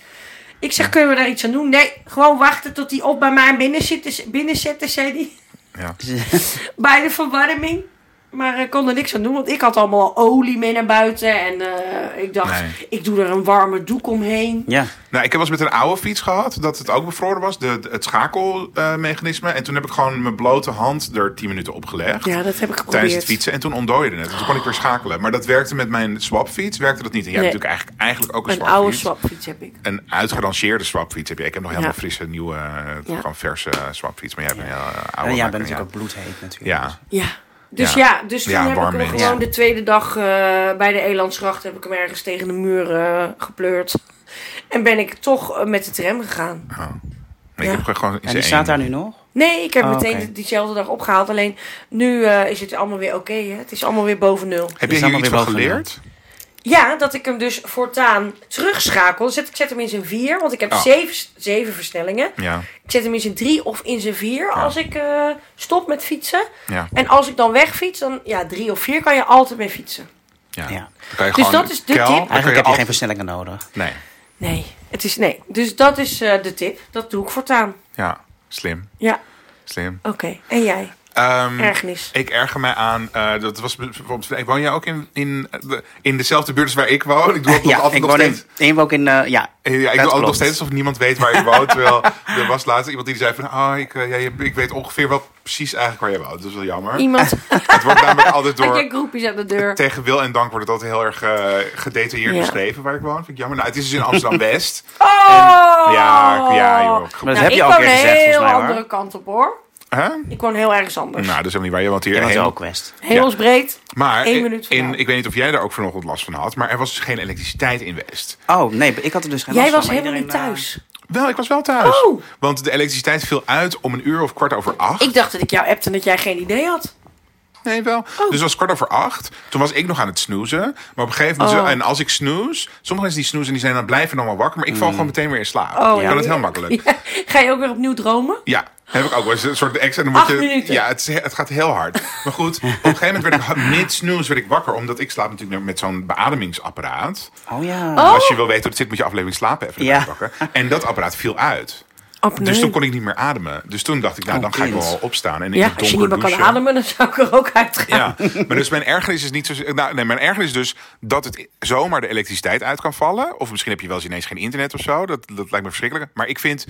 A: Ik zeg, kunnen we daar iets aan doen? Nee, gewoon wachten tot hij op bij mij binnen zit, binnen zit zei hij.
B: Ja.
A: Bij de verwarming. Maar ik kon er niks aan doen, want ik had allemaal olie mee naar buiten. En eh, ik dacht,
B: Nee.
A: ik doe er een warme doek omheen.
C: Ja,
B: Nou, ik heb wel eens met een oude fiets gehad dat het ook bevroren was, de, de- het schakelmechanisme. en toen heb ik gewoon mijn blote hand er 10 minuten op gelegd.
A: Ja, dat heb ik geprobeerd.
B: Tijdens het fietsen en toen ontdooide het. Dus toen kon ik weer schakelen. Maar dat werkte met mijn swapfiets, werkte dat niet. En jij
A: Nee.
B: hebt natuurlijk eigenlijk, eigenlijk ook een,
A: Een oude
B: swapfiets.
A: swapfiets heb ik.
B: Een uitgerangeerde swapfiets heb je. Ik heb nog helemaal
A: Ja.
B: frisse, nieuwe, eh,
A: Ja.
B: gewoon verse eh, swapfiets. Maar jij hebt een heel eh, oude.
C: en jij
B: maker,
C: bent natuurlijk ook
B: ja.
C: bloedheet natuurlijk.
B: Ja.
A: Ja. Dus ja,
B: Ja.
A: dus toen
B: Ja,
A: heb ik
B: warm
A: hem
B: mens.
A: gewoon
C: Ja.
A: de tweede dag eh, bij de Elandsgracht heb ik hem ergens tegen de muur eh, gepleurd. En ben ik toch eh, met de tram gegaan.
B: Oh. Ik
A: Ja.
B: heb gewoon in
C: En die
B: zijn
C: staat daar
B: één.
C: nu nog?
A: Nee, ik heb
C: Oh,
A: meteen
C: oké.
A: die- diezelfde dag opgehaald. Alleen nu eh, is het allemaal weer oké. hè? het is allemaal weer boven nul.
B: Heb
C: Die
B: je
C: staan
B: hier iets van
C: allemaal weer boven,
B: geleerd?
A: Ja, dat ik hem dus voortaan terugschakel. Zet, ik zet hem in zijn vier, want ik heb
B: Oh.
A: zeven, zeven versnellingen.
B: Ja.
A: Ik zet hem in zijn drie of in zijn vier als ik eh, stop met fietsen.
B: Ja.
A: En als ik dan wegfiets, dan ja, drie of vier kan je altijd mee fietsen.
B: ja.
C: Ja.
B: Dan kan je
A: Dus
B: gewoon
A: dat is de tip.
B: kel, dan kan
C: Eigenlijk heb je geen
B: altijd-
C: versnellingen nodig.
B: Nee.
A: Nee, het is nee. Dus dat is eh, de tip. Dat doe ik voortaan.
B: Ja. Slim.
A: Ja,
B: Slim.
A: oké. En jij?
B: Ehm,
A: Ergernis.
B: Ik erger mij aan, eh, dat was bijvoorbeeld, ik woon jij ook in, in, de- in dezelfde buurt als waar ik woon? Ik doe ook nog
C: Ja,
B: altijd
C: ik
B: nog
C: woon
B: steeds.
C: in, ik woon ook in... eh, ja,
B: Eh, Ja, ik
C: dat
B: doe ook nog
C: klopt.
B: steeds alsof niemand weet waar je woont. Terwijl er was laatst iemand die zei van... ah ik, eh, ja, je- ik weet ongeveer wel precies eigenlijk waar je woont. Dat is wel jammer.
A: Iemand
B: Het wordt namelijk altijd
A: had je
B: door...
A: groepjes aan de deur.
B: Tegen wil en dank wordt het altijd heel erg eh, gedetailleerd
A: Ja.
B: beschreven waar ik woon. Vind ik jammer. Nou, het is dus in Amsterdam-West.
A: Oh!
B: Ja, ja, joh.
C: Maar dat
A: Nou,
C: heb je
A: ik
C: al een
A: woon
C: keer
A: een
C: gezegd, volgens
A: heel
C: mij,
A: andere
C: hoor.
A: kant op hoor.
B: Huh?
A: Ik woon heel ergens anders.
B: Nou, dat is helemaal niet waar. Je woont hier
C: Je woont
B: heen-
C: ook West.
A: Hemelsbreed.
B: Maar
A: Eén
B: in-
A: minuut van
B: in,
A: jou.
B: ik weet niet of jij daar ook vanochtend last van had, maar er was dus geen elektriciteit in West.
C: Oh, nee, ik had er dus geen
A: Jij
C: last van,
A: was
C: maar
A: helemaal niet
C: iedereen, eh,
A: thuis.
B: Wel, ik was wel thuis.
A: Oh.
B: Want de elektriciteit viel uit om een uur of kwart over acht.
A: Ik dacht dat ik jou appte en dat jij geen idee had.
B: Nee, wel. Dus het was kwart over acht. Toen was ik nog aan het snoezen. Maar op een gegeven moment...
A: Oh.
B: En als ik snoes... Sommige mensen die snoezen, die zijn dan blijven dan wel wakker. Maar ik val gewoon meteen weer in slaap. ik kan
A: Mm. Oh, ja.
B: het heel makkelijk. Ja.
A: Ja, Ga je ook weer opnieuw dromen?
B: heb ik ook wel eens een soort extra. Dan moet
A: Acht
B: je,
A: minuten.
B: Ja, het, is- het gaat heel hard. Maar goed, op een gegeven moment werd ik mid-snoes werd ik wakker. Omdat ik slaap natuurlijk met zo'n beademingsapparaat.
C: Oh ja.
A: Oh.
B: Als je wil weten hoe het zit, moet je aflevering slapen even
C: Ja.
B: erbij pakken. En dat apparaat viel uit.
A: Apneu.
B: Dus toen kon ik niet meer ademen. Dus toen dacht ik, nou,
C: Oh,
B: dan ga ik
C: kind.
B: wel opstaan. En in
A: ja,
B: het
A: als je niet
B: donker
A: meer kan
B: douchen.
A: ademen, dan zou ik er ook uit gaan.
B: Ja, maar dus mijn ergernis is niet zo. Nou, nee, mijn ergernis is dus dat het zomaar de elektriciteit uit kan vallen. Of misschien heb je wel eens ineens geen internet of zo. Dat, dat lijkt me verschrikkelijk. Maar ik vind,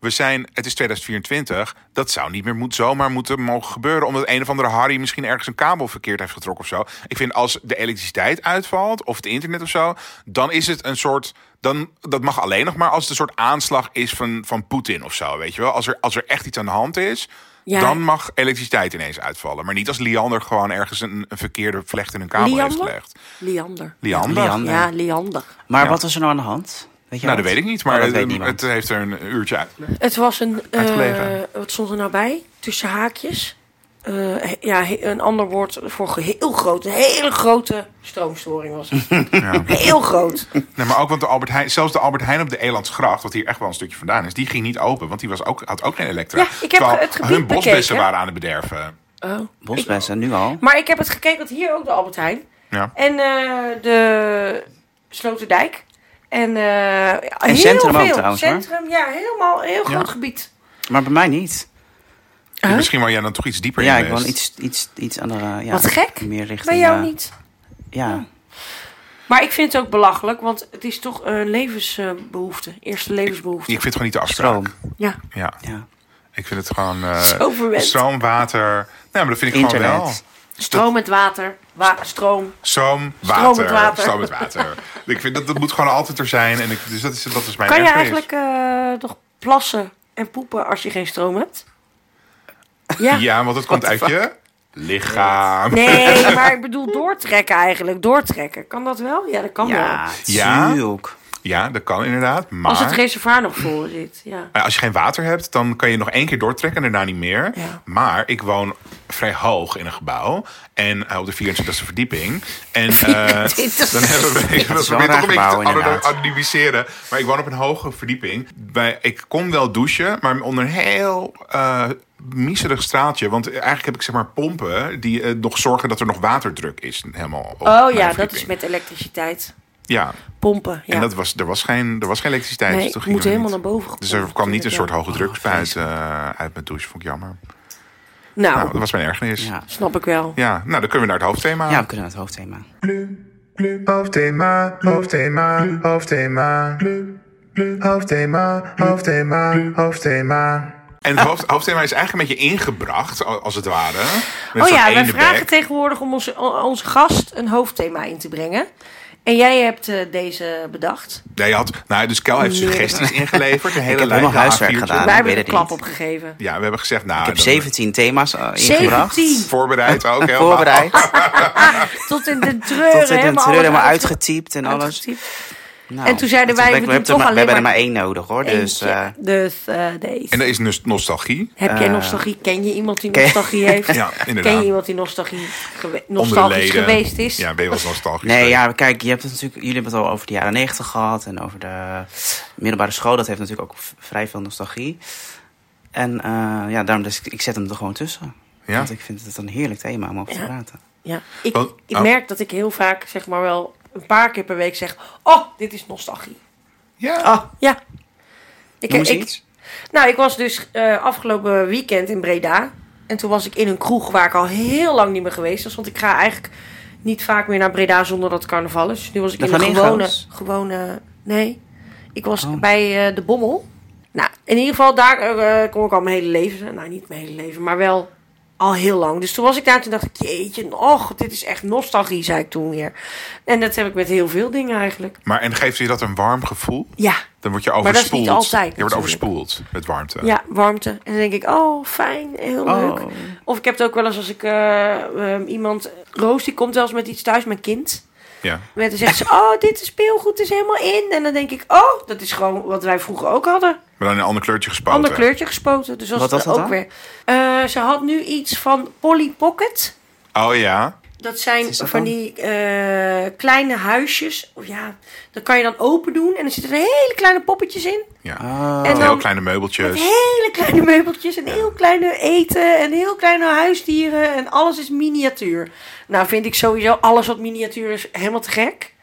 B: we zijn, het is 2024. Dat zou niet meer moet, zomaar moeten mogen gebeuren. Omdat een of andere Harry misschien ergens een kabel verkeerd heeft getrokken of zo. Ik vind als de elektriciteit uitvalt of het internet of zo, dan is het een soort. Dan, dat mag alleen nog maar als het een soort aanslag is van, van Poetin of zo. Weet je wel? Als er, als er echt iets aan de hand is,
A: Ja.
B: dan mag elektriciteit ineens uitvallen. Maar niet als Liander gewoon ergens een, een verkeerde vlecht in een kabel heeft
A: Liander?
B: gelegd.
A: Liander.
B: Liander?
C: Liander.
A: Ja, Liander.
C: Maar
B: Ja.
C: wat was er nou aan de hand? Weet je
B: Nou,
C: wat?
B: dat weet ik niet,
C: Oh,
B: maar
C: dat
B: het,
C: weet niemand.
B: het heeft er een uurtje uit.
A: Het was een. eh
B: Uitgelegen.
A: wat stond er nou bij? Tussen haakjes. Eh, he- ja, he- een ander woord voor ge- heel groot. Een hele grote stroomstoring was het. Heel groot.
B: Nee, maar ook want de Albert Heijn, zelfs de Albert Heijn op de Elandsgracht, wat hier echt wel een stukje vandaan is, die ging niet open, want die was ook, had ook geen elektra.
A: Ja, ik heb
B: Terwijl
A: het gebied
B: hun bosbessen
A: bekeken.
B: waren aan het bederven.
C: Bosbessen, nu al.
A: Oh. Maar ik heb het gekeken, want hier ook de Albert Heijn.
B: Ja.
A: En eh, de Sloterdijk. En, eh heel
C: centrum ook
A: veel.
C: trouwens, hoor.
A: Centrum, ja, helemaal een heel
B: Ja.
A: groot gebied.
C: Maar bij mij niet.
A: Huh?
B: Misschien woon jij dan toch iets dieper
C: Ja,
B: in
C: ik
B: West.
C: wil iets, iets, iets andere. Ja,
A: Wat gek.
C: Meer richting,
A: Bij jou
C: eh,
A: niet. Oh.
C: Ja.
A: Maar ik vind het ook belachelijk, want het is toch een levensbehoefte. Eerste
B: Ik
A: levensbehoefte.
B: vind het gewoon niet de afspraak.
C: Stroom.
A: Ja.
B: Ja,
C: Ja.
B: ik vind het gewoon... eh,
A: Zo verwend.
B: Stroom, water... Nee, maar dat vind ik gewoon wel.
C: Internet.
A: Stroom met water. Wa- stroom.
B: Stroom,
A: Stroom
B: water.
A: met water.
B: Stroom met water. ik vind dat, dat moet gewoon altijd er zijn. En ik, dus dat is, dat is mijn
A: Kan je
B: ergernis.
A: eigenlijk eh, nog plassen en poepen als je geen stroom hebt? Ja.
B: Ja, want het komt uit je lichaam.
A: Nee, maar ik bedoel doortrekken eigenlijk. Doortrekken. Kan dat wel? Ja, dat kan wel.
C: Ja,
B: Ja.
C: tuurlijk.
B: Ja, dat kan inderdaad. Maar
A: Als het reservoir nog vol zit. Ja.
B: eh, als je geen water hebt, dan kan je nog één keer doortrekken en daarna niet meer.
A: Ja.
B: Maar ik woon vrij hoog in een gebouw. En eh, op de 24e verdieping. En eh, dan hebben we... Ik
C: is wel
B: probeer
C: een
B: toch een beetje
C: raar
B: te
C: gebouw, inderdaad.
B: anoni- anonimiseren. Maar ik woon op een hoge verdieping. Bij, ik kon wel douchen, maar onder een heel... eh miserig straaltje, want eigenlijk heb ik zeg maar pompen die eh, nog zorgen dat er nog waterdruk is helemaal. Op
A: Oh
B: mijn
A: ja, dat
B: verdieping.
A: is met elektriciteit.
B: ja.
A: Pompen. Ja.
B: En dat was, er, was geen, er was geen elektriciteit.
A: Nee,
B: dus
A: ik
B: dat
A: moet
B: ging er
A: helemaal
B: niet.
A: naar boven
B: Dus er
A: gepompt,
B: kwam niet een soort
A: natuurlijk,
B: hoge drukspuit eh, uit mijn douche. Vond ik jammer.
A: nou,
B: Nou, dat was mijn ergernis. Ja.
C: Ja.
A: snap ik wel.
B: nou dan kunnen we naar het hoofdthema.
C: ja, we kunnen naar het hoofdthema.
E: Hoofdthema, hoofdthema, hoofdthema. Hoofdthema, hoofdthema, hoofdthema.
B: En het hoofd, hoofdthema is eigenlijk een beetje ingebracht, al- als het ware. Met
A: Oh
B: zo'n
A: ja, wij
B: ene
A: vragen
B: bek.
A: tegenwoordig om onze, o- onze gast een hoofdthema in te brengen. En jij hebt eh, deze bedacht.
B: Nee, je had, nou, dus Kel heeft suggesties ingeleverd. De hele
C: heb
B: lijn
C: helemaal
B: van
C: huiswerk
B: A4'tjes.
C: gedaan.
A: wij
C: ik
A: hebben
C: weet
A: er een
C: het
A: klap
C: niet.
A: op gegeven.
B: Ja, we hebben gezegd, nou...
C: Ik heb 17 thema's eh, ingebracht.
A: 17.
B: Voorbereid ook, Oh, heel
C: Voorbereid.
A: Tot in de
C: Tot
A: treuren.
C: in de
A: helemaal
C: treur helemaal
A: alles uit-
C: uitgetypt en alles.
A: uitgetypt.
C: Nou,
A: En toen zeiden wij,
C: dat-
A: we doen
C: hebben
A: toch
C: er maar-
A: alleen
C: we hebben er
A: maar
C: maar één nodig hoor. Dus
A: Eentje.
C: eh,
A: Dus, eh, deze.
B: En dat is dus nostalgie.
A: Heb jij nostalgie? Ken je iemand die
C: Ken-
A: nostalgie heeft?
B: Ja, inderdaad.
A: Ken je iemand die nostalgie gewe-
B: Onder de
A: nostalgisch
B: leden.
A: geweest is?
B: Ja, ben je wel eens nostalgisch?
C: Nee, ja, maar kijk, je hebt het natuurlijk, jullie hebben het al over de jaren negentig gehad en over de middelbare school. Dat heeft natuurlijk ook v- vrij veel nostalgie. En eh, ja, daarom dus, ik zet hem er gewoon tussen.
B: Ja?
C: Want ik vind het een heerlijk thema om over te
A: Ja.
C: praten.
A: Ja. Ik,
B: Want-
A: ik
B: oh.
A: merk dat ik heel vaak, zeg maar wel een paar keer per week zeg... Oh, dit is nostalgie. Oh.
B: Ja.
A: Ja. Ik,
C: Noem eens
A: ik,
C: iets.
A: Nou, ik was dus eh, afgelopen weekend in Breda. En toen was ik in een kroeg waar ik al heel lang niet meer geweest was. Want ik ga eigenlijk niet vaak meer naar Breda zonder dat het carnaval is. Nu was ik
C: De
A: in een
C: Flamingo's?
A: gewone, gewone... Nee, ik was
C: Oh.
A: bij eh, de Bommel. Nou, in ieder geval, daar eh, kom ik al mijn hele leven. Nou, niet mijn hele leven, maar wel al heel lang. Dus toen was ik daar en toen dacht ik... Jeetje, och, dit is echt nostalgie, zei ik toen weer. En dat heb ik met heel veel dingen eigenlijk.
B: Maar en geeft je dat een warm gevoel?
A: Ja,
B: Dan word je
A: Maar
B: overspoeld.
A: dat is niet altijd,
B: Je wordt
A: natuurlijk.
B: overspoeld met warmte.
A: Ja, warmte. En dan denk ik, oh, fijn, heel
C: Oh.
A: leuk. Of ik heb het ook wel eens als ik eh, ehm, iemand... Roos, die komt wel eens met iets thuis, mijn kind.
B: Ja.
A: En dan zegt ze, oh, dit speelgoed is helemaal in. En dan denk ik, oh, dat is gewoon wat wij vroeger ook hadden.
B: Maar dan een ander kleurtje gespoten.
A: Ander kleurtje gespoten. Dus was
C: Wat
A: het
C: was dat
A: ook
C: dan?
A: weer. Eh, ze had nu iets van Polly Pocket.
B: Oh ja.
A: Dat zijn
C: is dat
A: van
C: dan?
A: die eh, kleine huisjes. Of ja, dat kan je dan open doen. En er zitten hele kleine poppetjes in.
B: ja.
C: Oh.
A: En
B: Met heel
A: dan-
B: kleine
C: Dus-
A: Met
B: meubeltjes.
A: hele kleine meubeltjes en heel kleine eten en heel kleine huisdieren. En alles is miniatuur. Nou vind ik sowieso alles wat miniatuur is helemaal te gek.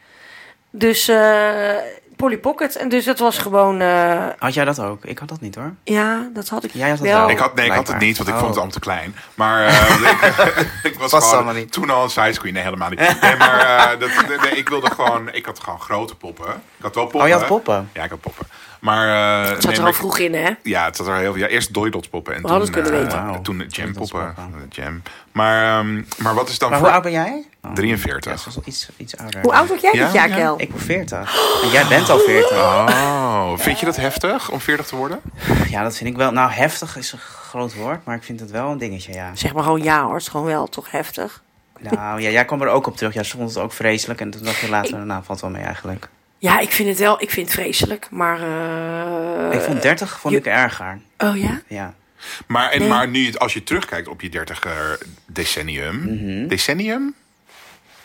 A: Dus eh Polly Pocket. En dus het was gewoon... eh,
C: Had jij dat ook? Ik had dat niet hoor.
A: ja, dat had ik
C: Jij had dat
A: wel.
C: wel.
B: Ik had, nee, ik had het
C: Blijkbaar.
B: niet, want ik
C: Oh.
B: vond het allemaal te klein. Maar eh, ik was
C: Past
B: gewoon
C: allemaal niet.
B: toen al een size queen. Nee, helemaal niet. Nee, maar eh, dat, nee, nee, ik wilde gewoon... Ik had gewoon grote poppen. Ik had wel poppen.
C: Oh, je had poppen?
B: Ja, ik had poppen. Maar... eh,
A: Het
B: nee,
A: zat er
B: maar
A: al
B: ik-
A: vroeg in, hè?
B: Ja, het zat er heel veel. Ja, eerst Doidots poppen. En
A: We
B: toen,
A: hadden het kunnen
B: eh,
C: weten. Wauw.
B: Toen de jam
C: Doidots
B: poppen.
C: poppen.
B: De jam. Maar, ehm, maar wat is dan
C: Maar hoe
B: voor...
C: oud ben jij? Oh,
B: 43.
C: ja, dat is wel iets, iets ouder.
A: Hoe oud word jij
B: Ja,
A: dit jaar,
B: ja.
A: Kel?
C: Ik ben 40. En jij bent al 40.
B: Oh, vind je dat heftig om 40 te worden?
C: Ja, dat vind ik wel. Nou, heftig is een groot woord, maar ik vind het wel een dingetje, ja.
A: Zeg maar gewoon ja hoor, het is gewoon wel toch heftig.
C: Nou, ja, jij kwam er ook op terug. Ja, ze vond het ook vreselijk. En toen dacht je later, nou, valt wel mee eigenlijk.
A: Ja, ik vind het wel, ik vind het vreselijk, maar... eh,
C: Ik vond 30 vond ik erger.
A: Oh ja?
C: Ja.
B: Maar, en,
A: Nee.
B: maar nu, het- als je terugkijkt op je 30 decennium. Decennium?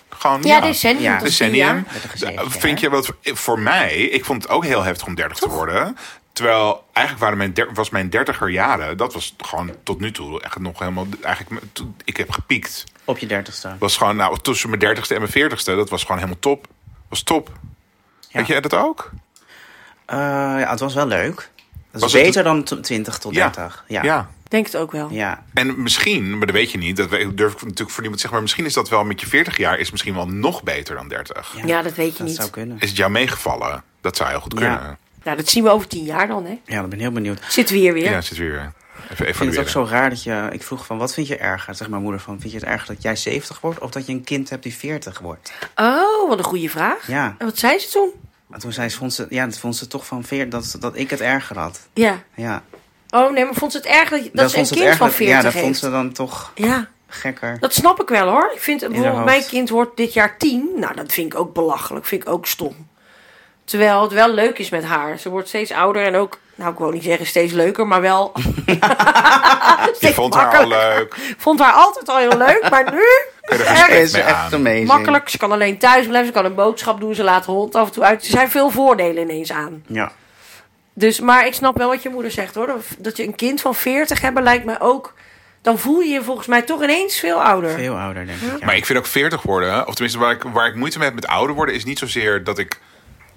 B: Gewoon,
A: Mhm. Ja, decennium.
C: Ja. dus
A: tot vier jaar.
B: decennium.
C: Met een gezichtje,
B: Eh, Vind je wat voor mij? Ik vond het ook heel heftig om 30 te worden. Terwijl eigenlijk waren mijn der- was mijn 30er jaren, dat was gewoon tot nu toe echt nog helemaal. Eigenlijk, me- toen- ik heb gepiekt.
C: Op je 30ste.
B: Was gewoon, nou, tussen mijn 30ste en mijn 40ste, dat was gewoon helemaal top. Was top. Had jij dat ook?
C: Eh, ja, het was wel leuk. Dat
B: Was
C: is
B: het-
C: beter dan t- 20 tot 30. Ja. Ja.
B: ja.
A: Denk het ook wel.
B: En misschien, maar dat weet je niet, dat we- durf ik natuurlijk voor niemand te zeggen, maar misschien is dat wel met je 40 jaar is misschien wel nog beter dan 30.
A: Ja, dat weet je niet.
C: zou kunnen.
B: Is het jou meegevallen? Dat zou heel goed
C: Ja.
B: kunnen. Ja,
A: Nou, dat zien we over tien jaar dan, hè?
C: Ja, ik ben heel benieuwd.
A: Zitten we hier weer.
B: zit weer. Even
C: Ik vind het
B: evalueren.
C: ook zo raar dat je... Ik vroeg van, wat vind je erger? Zeg maar moeder van, vind je het erger dat jij 70 wordt? Of dat je een kind hebt die 40 wordt?
A: Oh, wat een goede vraag.
C: Ja.
A: En wat zei ze toen?
C: Maar toen zei ze, vond ze, ja, dat vond ze toch van 40, dat, dat ik het erger had.
A: Ja.
C: Ja.
A: Oh nee, maar vond ze het erg dat, dat, ze een
C: vond ze
A: kind
C: het
A: van
C: erger.
A: 40
C: Ja, dat
A: heeft?
C: vond ze dan toch
A: Ja,
C: gekker.
A: dat snap ik wel hoor. Ik vind, bijvoorbeeld,
C: hoofd.
A: mijn kind wordt dit jaar 10. Nou, dat vind ik ook belachelijk. Vind ik ook stom. Terwijl het wel leuk is met haar. Ze wordt steeds ouder en ook, nou ik wil niet zeggen steeds leuker, maar wel.
B: Je
A: steeds
B: vond haar al
A: makkelijker.
B: leuk.
A: Vond haar altijd al heel leuk, maar nu is het erg.
C: is
B: mee aan.
C: echt amazing.
A: makkelijk. Ze kan alleen thuis blijven, ze kan een boodschap doen, ze laat de hond af en toe uit. Er zijn veel voordelen ineens aan.
C: Ja.
A: Dus, maar ik snap wel wat je moeder zegt hoor. Dat- Dat je een kind van 40 hebben lijkt mij ook. Dan voel je je volgens mij toch ineens veel ouder.
C: Veel ouder, denk ik. Ja.
B: Maar ik vind ook 40 worden, of tenminste waar ik, waar ik moeite mee heb met ouder worden, is niet zozeer dat ik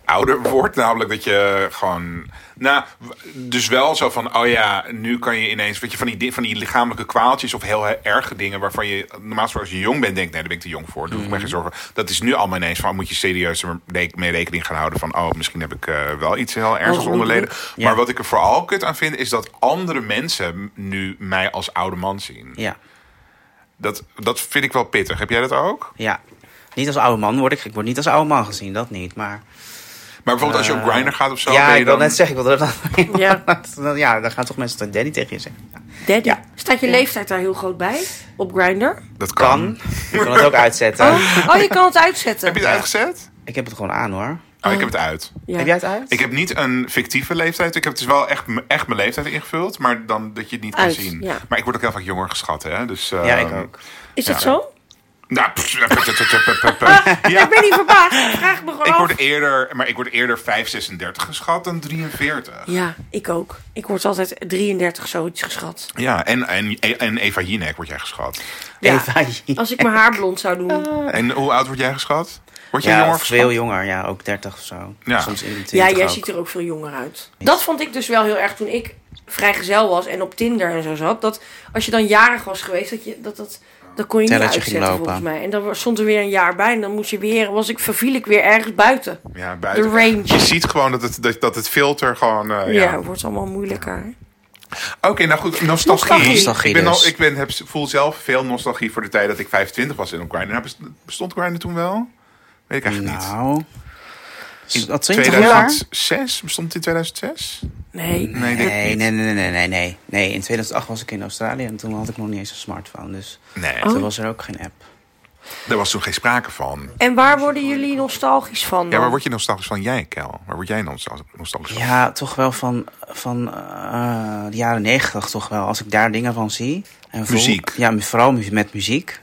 B: ouder word. Namelijk dat je gewoon. Nou, w- dus wel zo van, oh ja, nu kan je ineens. Weet je, van die, di- van die lichamelijke kwaaltjes of heel erge dingen waarvan je normaal gesproken als je jong bent denkt, nee, daar ben ik te jong voor. Doe ik me
C: Mhm.
B: geen zorgen. Dat is nu allemaal ineens van, moet je serieus er re- mee rekening gaan houden van, oh, misschien heb ik eh, wel iets heel ergs
A: Hoogmoedig.
B: onderleden.
C: Oh, Ja.
B: Maar wat ik er vooral kut aan vind, is dat andere mensen nu mij als oude man zien.
C: Ja.
B: Dat, dat vind ik wel pittig. Heb jij dat ook?
C: Ja. Niet als oude man word ik. Ik word niet als oude man gezien, dat niet. Maar
B: Maar bijvoorbeeld als je op Grindr gaat of zo,
C: Eh, ja,
B: ben
C: ik
B: je
C: wil
B: dan...
C: net zeggen, ik wil dat.
A: Ja.
C: Ja. ja, dan gaan toch mensen tot Danny tegen je zeggen. Ja.
A: Daddy. Staat je leeftijd daar heel groot bij? Op Grindr?
B: dat kan.
C: Kan. Ik kan het ook uitzetten.
A: Oh, oh, je kan het
B: Heb je
A: uitzetten.
B: het uitgezet?
C: Ik heb het gewoon aan hoor.
B: Oh, ik heb het uit.
A: Ja.
C: Heb jij het uit?
B: Ik heb niet een fictieve leeftijd. Ik heb dus wel echt, m- echt mijn leeftijd ingevuld, maar dan dat je het niet
A: Uit,
B: kan zien.
A: ja.
B: Maar ik word ook heel vaak jonger geschat, hè? Dus, eh,
C: Ja, ik ook.
A: Is dat zo?
B: Nou, pff, pff, pff, pff, pff, pff, pff.
A: Ik
B: ja,
A: ben niet verbaasd. Ik Vraag me
B: ik
A: gewoon af.
B: word eerder, maar ik word eerder 5, 36 geschat dan 43.
A: Ja, ik ook. Ik word altijd 33 zoiets geschat.
B: Ja, en, en, en Eva Jinek word jij geschat.
A: Ja.
C: Eva,
A: Als ik mijn haar blond zou doen.
B: En hoe oud word jij geschat? Word jij
C: ja,
B: jonger geschat?
C: veel jonger. Ja, ook 30 of zo.
B: Ja.
C: Soms in de 20
A: Ja, jij
C: ook.
A: ziet er ook veel jonger uit. Dat vond ik dus wel heel erg toen ik vrijgezel was en op Tinder en zo zat. Dat als je dan jarig was geweest, dat je dat dat dat kon je niet
C: Tellertje ging
A: uitzetten
C: lopen.
A: volgens mij. En dan stond er weer een jaar bij en dan moest je weer, was ik verviel ik weer ergens buiten.
B: Ja, buiten.
A: De range.
B: Je ziet gewoon dat het, dat, dat het filter gewoon... eh,
A: Ja,
B: ja.
A: het wordt allemaal moeilijker. hè?
B: Oké, nou goed, nostalgie.
A: Nostalgie.
C: Nostalgie
B: ik ben
C: dus.
B: al, ik ben, heb, voel zelf veel nostalgie voor de tijd dat ik 25 was in op Grindr. Nou, best- bestond Grindr toen wel? Weet ik eigenlijk niet.
C: Nou. Is dat 20 jaar?
B: 2006? Bestond het in 2006?
A: Nee.
B: Nee, ik denk
C: Nee,
B: niet.
C: nee, nee, nee, nee, nee. Nee, in 2008 was ik in Australië en toen had ik nog niet eens een smartphone. Dus
B: Nee,
C: toen was er ook geen app.
B: daar was toen geen sprake van.
A: En waar worden jullie nostalgisch van?
B: Ja,
A: Dan?
B: waar word je nostalgisch van? Jij, Kel. Waar word jij nostal- nostalgisch van?
C: Ja, toch wel van, van eh, de jaren 90 toch wel. Als ik daar dingen van zie. En voel-
B: Muziek.
C: ja, vooral mu- met muziek.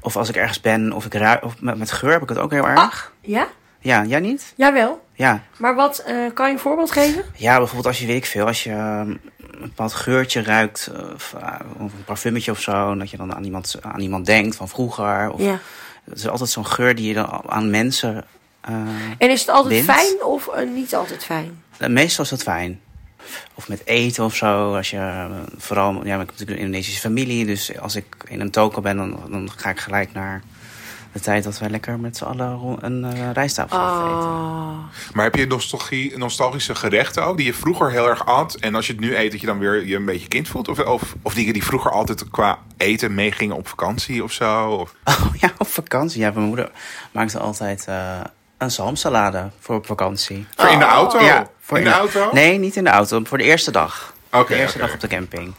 C: Of als ik ergens ben of ik ruik. Of met, met geur heb ik het ook heel erg.
A: Ah. Ja?
C: Ja, jij niet?
A: Jawel.
C: Ja.
A: Maar wat, eh, kan je een voorbeeld geven?
C: Ja, bijvoorbeeld als je, weet ik veel, als je ehm, een bepaald geurtje ruikt, eh, of, ah, of een parfumetje of zo, en dat je dan aan iemand, aan iemand denkt van vroeger. Of,
A: Ja.
C: Het is altijd zo'n geur die je dan aan mensen... eh,
A: En is het altijd
C: Wind?
A: fijn of eh, niet altijd fijn?
C: eh, meestal is dat fijn. Of met eten of zo. Als je, eh, vooral, ja, maar ik heb natuurlijk een Indonesische familie, dus als ik in een toko ben, dan, dan ga ik gelijk naar de tijd dat wij lekker met z'n allen ro- een eh, rijsttafel gaan eten.
A: Oh.
B: Maar heb je nostalgie, nostalgische gerechten ook, die je vroeger heel erg at? En als je het nu eet, dat je dan weer je een beetje kind voelt? Of, of, of dingen die vroeger altijd qua eten meegingen op vakantie of zo? Of,
C: Oh ja, op vakantie. Ja, mijn moeder maakte altijd eh, een zalmsalade voor op vakantie.
B: Voor in de auto?
C: Oh, Ja,
B: in de auto?
C: Nee, niet in de auto. Voor de eerste dag.
B: Oké,
C: de eerste
B: oké.
C: dag op de camping.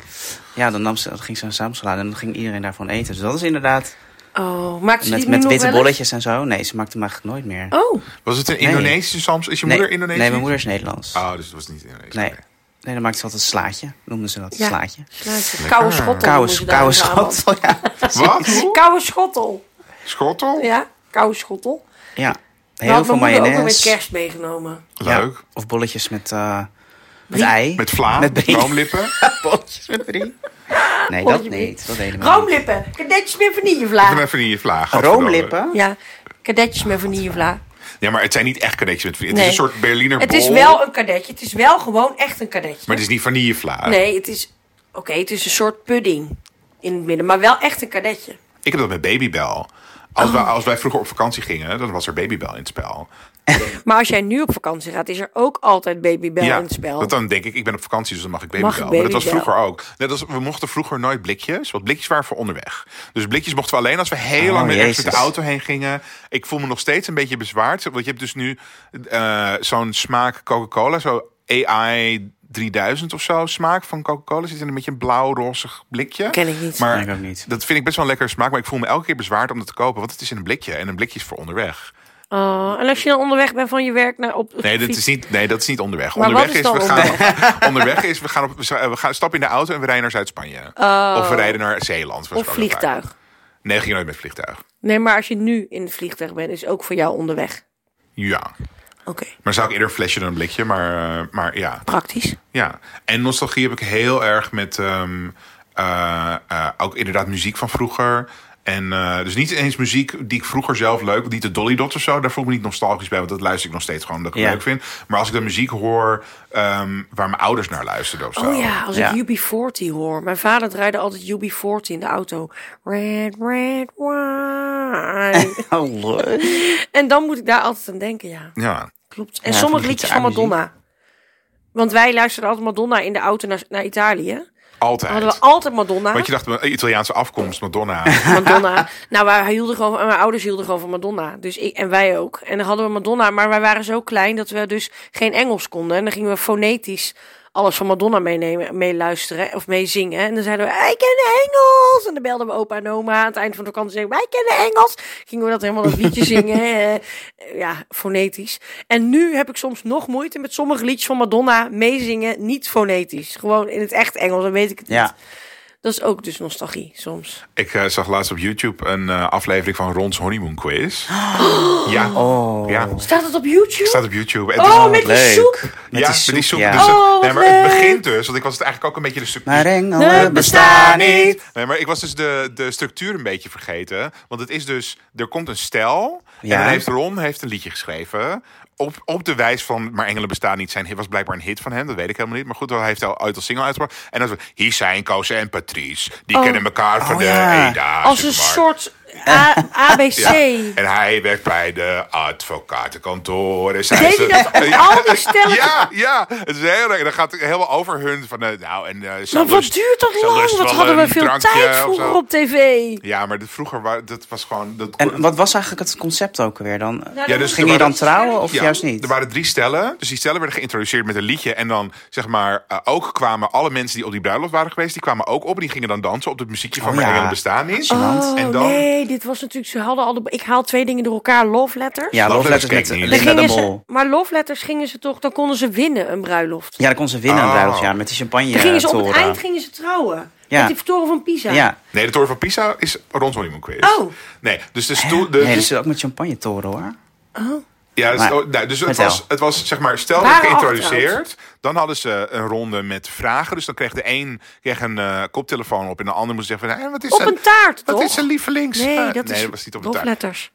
C: Ja, dan, nam ze, dan ging ze een zalmsalade en dan ging iedereen daarvan eten. Dus dat is inderdaad
A: Oh, maakt ze
C: met,
A: die
C: met
A: nu nog
C: witte
A: wel eens?
C: bolletjes en zo. Nee, ze maakte hem eigenlijk nooit meer.
A: Oh,
B: Was het een Indonesische soms? Is je moeder
C: nee,
B: Indonesisch?
C: Nee, mijn moeder is Nederlands.
B: Oh, dus het was niet Indonesisch.
C: nee.
B: Oké.
C: nee, dan maakte ze altijd slaatje. Noemden ze dat,
A: Ja.
C: slaatje.
A: sluit. Koude schottel. noemen
C: Koude,
A: ze dat in
C: koude
A: Brabant.
C: schotel, ja.
B: Wat? Hoe?
A: Koude schottel.
B: Schottel?
A: Ja, koude schottel.
C: ja.
A: Heel
C: Heel veel
A: mijn moeder ook nog met
C: mayonaise.
A: kerst meegenomen.
C: Ja,
B: Leuk.
C: Of bolletjes met, eh, met ei.
B: Met vla,
C: Met
B: met
C: brie.
B: boomlippen.
C: bolletjes met drie. Nee, dat
A: Bolletje
C: niet. Dat deden we niet.
A: Roomlippen. Kadetjes met
B: En
A: vanillevla.
B: even in je
C: Ah,
B: vlaag.
C: Roomlippen?
A: Ja, kadetjes met vanillevla.
B: Ja, maar het zijn niet echt kadetjes met vanille.
A: Nee.
B: Het is een soort Berliner
A: Het
B: bol.
A: is wel een kadetje. Het is wel gewoon echt een kadetje.
B: Maar het is niet vanillevla.
A: Nee, het is... Oké, het is een soort pudding in het midden. Maar wel echt een kadetje.
B: Ik heb dat met Babybel. Als,
A: Oh.
B: wij, als wij vroeger op vakantie gingen, dan was er Babybel in het spel.
A: Maar als jij nu op vakantie gaat, is er ook altijd babybel in het spel.
B: dat dan denk ik, ik ben op vakantie, dus dan mag ik Babybel.
A: Mag ik
B: Maar dat was
A: Babybel?
B: vroeger ook. Net als, we mochten vroeger nooit blikjes, want blikjes waren voor onderweg. Dus blikjes mochten we alleen als we heel
C: Oh,
B: lang met, ergens met
C: Jezus.
B: de auto heen gingen. Ik voel me nog steeds een beetje bezwaard. Want je hebt dus nu eh, zo'n smaak Coca-Cola, zo AI... 3000 of zo smaak van Coca-Cola zit in een beetje een blauw-rozig blikje.
A: Ken ik niet.
B: Maar
C: Ken ik ook niet.
B: dat vind ik best wel een lekkere smaak, maar ik voel me elke keer bezwaard om dat te kopen, want het is in een blikje en een blikje is voor onderweg.
A: Oh, en als je dan onderweg bent van je werk naar op
B: Nee, dat
A: fiets-
B: is niet, nee, dat is niet onderweg.
A: Maar wat
B: onderweg
A: is dan
B: we gaan onderweg is we gaan op we gaan stappen in de auto en we rijden naar Zuid-Spanje. Of we rijden naar Zeeland.
A: Oh.
B: was
A: Of
B: ook heel vaak.
A: vliegtuig.
B: Nee, we gingen nooit met vliegtuig.
A: Nee, maar als je nu in het vliegtuig bent, is ook voor jou onderweg.
B: Ja.
A: Oké,
B: Maar zou ik eerder een flesje dan een blikje, maar, eh, maar ja.
A: praktisch.
B: Ja, en nostalgie heb ik heel erg met ehm, eh, eh, ook inderdaad muziek van vroeger. En eh, dus niet eens muziek die ik vroeger zelf leuk, niet de Dolly Dots of zo, daar voel ik me niet nostalgisch bij, want dat luister ik nog steeds gewoon dat ik het
C: Ja.
B: leuk vind. Maar als ik dan muziek hoor ehm, waar mijn ouders naar luisterden of zo.
A: Oh ja, als
C: Ja.
A: ik UB40 hoor. Mijn vader draaide altijd UB40 in de auto. Red, red wine.
C: Oh, leuk.
A: en dan moet ik daar altijd aan denken, ja.
B: Ja.
A: Klopt. En
C: Ja,
A: sommige
C: van die
A: liedjes van Madonna. Want wij luisterden altijd Madonna in de auto naar, naar Italië.
B: altijd.
A: Hadden we altijd Madonna.
B: Want je dacht, eh, Italiaanse afkomst, Madonna.
A: Madonna. nou, wij hielden gewoon, van- mijn ouders hielden gewoon van Madonna. Dus ik en wij ook. En dan hadden we Madonna, maar wij waren zo klein dat we dus geen Engels konden. En dan gingen we fonetisch alles van Madonna meenemen, meeluisteren of meezingen. En dan zeiden we, wij kennen Engels. En dan belden we opa en oma aan het eind van de vakantie. Zeiden, we, wij kennen Engels. Gingen we dat helemaal dat liedje zingen. eh, eh, ja, fonetisch. En nu heb ik soms nog moeite met sommige liedjes van Madonna meezingen. Niet fonetisch. Gewoon in het echt Engels, dan weet ik het niet.
C: Ja.
A: Dat is ook dus nostalgie soms.
B: Ik eh, zag laatst op YouTube een eh, aflevering van Rons Honeymoon Quiz. Ja,
C: Oh.
B: ja.
A: Staat het op YouTube?
B: Staat op YouTube. En het is
A: Oh, met die
C: leuk.
A: soep.
C: Met
B: ja,
C: die
B: met
C: soep,
B: die soep.
C: ja.
B: Dus, eh,
A: Oh, wat
B: nee, maar het
A: leuk.
B: begint dus, want ik was het eigenlijk ook een beetje de stuk.
C: Maar
A: Nee, bestaan
C: engelen bestaan
A: niet.
C: niet.
B: Nee, maar ik was dus de, de structuur een beetje vergeten. Want het is dus, er komt een stel. En
C: Ja.
B: dan heeft Ron heeft een liedje geschreven. Op, op de wijs van Maar Engelen Bestaan Niet. Zijn hit was blijkbaar een hit van hem. Dat weet ik helemaal niet. Maar goed, hij heeft al uit als single uitgebracht. En dan was het, hier zijn Koos en Patrice. Die
A: Oh.
B: kennen elkaar van
C: Oh,
B: de
C: ja.
B: EDA.
A: Als een
B: supermarkt.
A: soort A- ABC.
B: Ja. En hij werkt bij de advocatenkantoren. Zij
A: Deed
B: ze-
A: hij dat op al die stellen?
B: Ja, ja. Het is heel erg. Dan gaat het helemaal over hun. Van, eh, nou, en, eh, ze
A: Maar wat
B: lust-
A: duurt dat
B: ze
A: lang?
B: lust
A: Wat
B: wel
A: hadden we
B: een
A: veel
B: drankje
A: tijd
B: of
A: vroeger
B: zo.
A: op tv. Nou,
B: Ja, maar dat vroeger wa- dat was gewoon... Dat,
C: En wat was eigenlijk het concept ook weer dan?
B: Ja, dus
C: Ging
B: er
C: je dan
B: waren-
C: trouwen of
B: Ja,
C: juist niet?
B: Er waren drie stellen. Dus die stellen werden geïntroduceerd met een liedje. En dan, zeg maar, eh, ook kwamen alle mensen die op die bruiloft waren geweest... die kwamen ook op. Die gingen dan dansen op het muziekje van
C: Oh,
B: Mijn
C: ja.
B: Engelen Bestaan Niet.
A: Oh,
B: en dan...
A: nee, dit was natuurlijk... Ze hadden al de, ik haal twee dingen door elkaar, love letters.
C: Ja,
B: Love
C: Love
B: Letters
C: Letters met
B: keek niet.
A: Dan
C: Linda de
A: gingen ze,
C: Mol.
A: maar love letters gingen ze toch... Dan konden ze winnen, een bruiloft.
C: Ja, dan kon ze winnen aan
B: Oh.
C: het bruiloft, ja, met die champagne
A: Dan gingen ze op het
C: toren.
A: eind gingen ze trouwen.
C: Ja.
A: Met de toren van Pisa.
C: Ja,
B: Nee, de Toren van Pisa is rond Hollywood Quiz.
A: Oh.
B: Nee, dus de stoel... De,
C: nee, dat zit ook met champagne toren hoor.
B: ja, dus,
C: Maar-
B: oh, nou, dus het,
C: vertel.
B: was, het was, zeg maar, stel dat
A: Waren
B: geïntroduceerd. Dan hadden ze een ronde met vragen. Dus dan kreeg de een kreeg een eh, koptelefoon op en de ander moest zeggen... Van, "Hé, wat is
A: Op
B: zijn-
A: een taart,
B: Wat
A: toch?
B: is zijn lievelings?
A: Nee,
B: eh,
A: dat is
B: was niet op een taart.
A: hoofdletters.